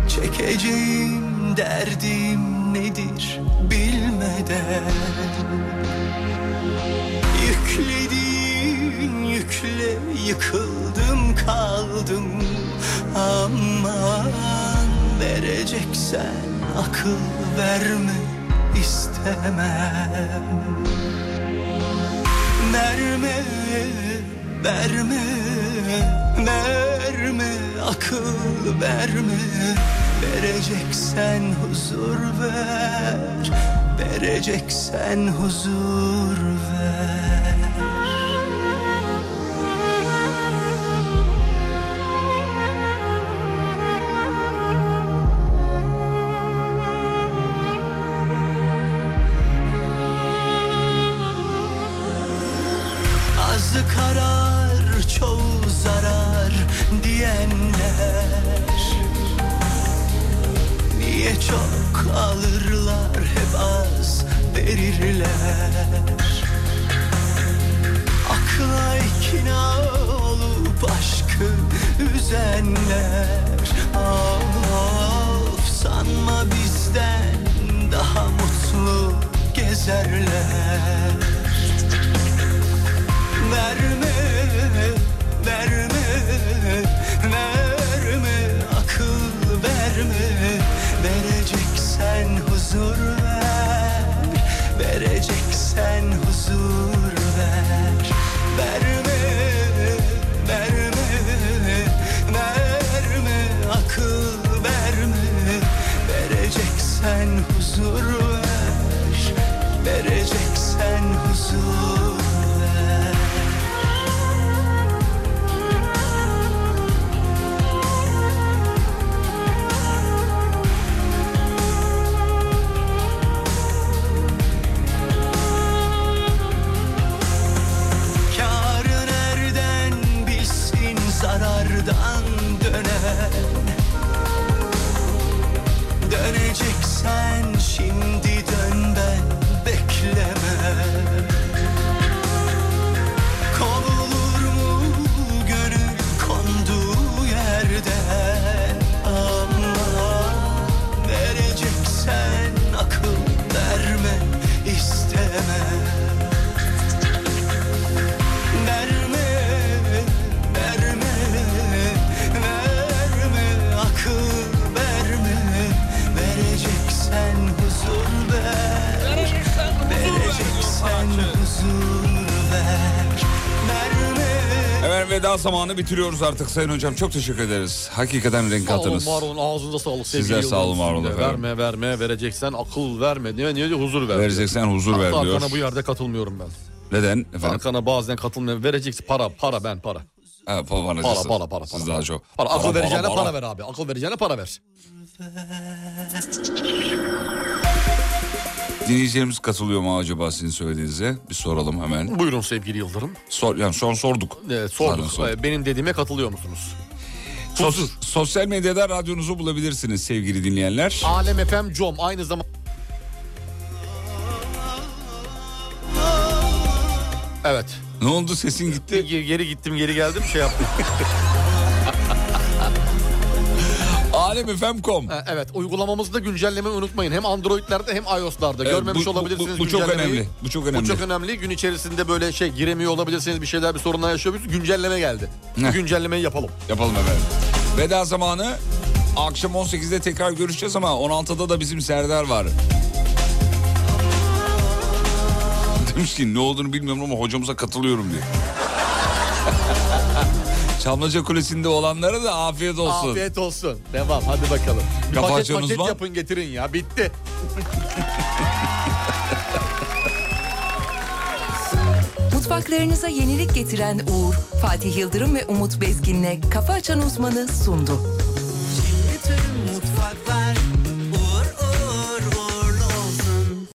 E: Çekeceğim derdim nedir bilmeden Yükledin yükle yıkıldım kaldım Aman vereceksen akıl verme istemem Verme, verme, verme, akıl verme Vereceksen huzur ver, vereceksen huzur ver Azı karar çoğu zarar diyenler Niye çok alırlar hep az verirler Akla ikna olup aşkı üzenler Of sanma bizden daha mutlu gezerler Verme, verme, verme Akıl verme Vereceksen huzur ver Vereceksen huzur ver Verme, verme, verme Akıl verme Vereceksen huzur ver Vereceksen huzur ver Kârı nereden bilsin zarardan döner Döneceksen şimdi dön ben bekleme Konulur mu gönül konduğu yerden Ama vereceksen akıl verme isteme Verme, verme, verme akıl verme Vereceksen huzur ver Vereceksen huzur ver Verme
C: Hemen veda zamanı bitiriyoruz artık Sayın Hocam. Çok teşekkür ederiz. Hakikaten renk
D: Sağ olun
C: katınız.
D: var olun ağzınıza sağlık sevgili
C: Sizler sağ olun,
D: Yıldırım.
C: var olun
D: Siz de
C: efendim.
D: Verme verme vereceksen akıl verme. Ne, ne diyor huzur ver.
C: Vereceksen huzur
D: diyor.
C: ver
D: Hatta
C: diyor.
D: Arkana bu yerde katılmıyorum ben.
C: Neden efendim?
D: Arkana bazen katılmıyorum. Vereceksin para para ben para.
C: Ha, para, para,
D: Para para para. para.
C: Siz daha çok.
D: Para, akıl vereceğine para, ver abi. Akıl vereceğine para ver.
C: Dinleyicilerimiz katılıyor mu acaba sizin söylediğinize? Bir soralım hemen.
D: Buyurun sevgili Yıldırım.
C: Sor, yani son sorduk.
D: Ee,
C: Pardon,
D: sorduk.
C: sorduk.
D: Ee, Benim dediğime katılıyor musunuz?
C: Sos- sosyal medyada radyonuzu bulabilirsiniz sevgili dinleyenler.
D: Alem FM com aynı zamanda... Evet.
C: Ne oldu sesin gitti?
D: Ge- Geri gittim geri geldim şey yaptım.
C: Alemfm.com
D: Ee, Evet uygulamamızda güncellemeyi unutmayın. Hem Android'lerde hem iOS'larda.
C: Evet,
D: Görmemiş
C: E, Ee, bu- bu-
D: olabilirsiniz
C: bu- bu çok
D: güncellemeyi.
C: önemli, bu çok önemli.
D: Bu çok önemli. Gün içerisinde böyle şey giremiyor olabilirsiniz. Bir şeyler bir sorunlar yaşayabilirsiniz. Güncelleme geldi.
C: Heh.
D: Bu güncellemeyi yapalım.
C: Yapalım efendim. Veda zamanı akşam 18'de tekrar görüşeceğiz ama 16'da da bizim Serdar var. Demiş ki ne olduğunu bilmiyorum ama hocamıza katılıyorum diyor. Çamlıca Kulesi'nde olanlara da afiyet olsun.
D: Afiyet olsun. Devam hadi bakalım. Bir
C: Kafa
D: paket
C: açıyorsunuz
D: paket
C: lan.
D: yapın getirin ya. Bitti.
A: Mutfaklarınıza yenilik getiren Uğur, Fatih Yıldırım ve Umut Bezgin'le Kafa Açan Uzman'ı sundu.
E: Kirli tüm mutfaklar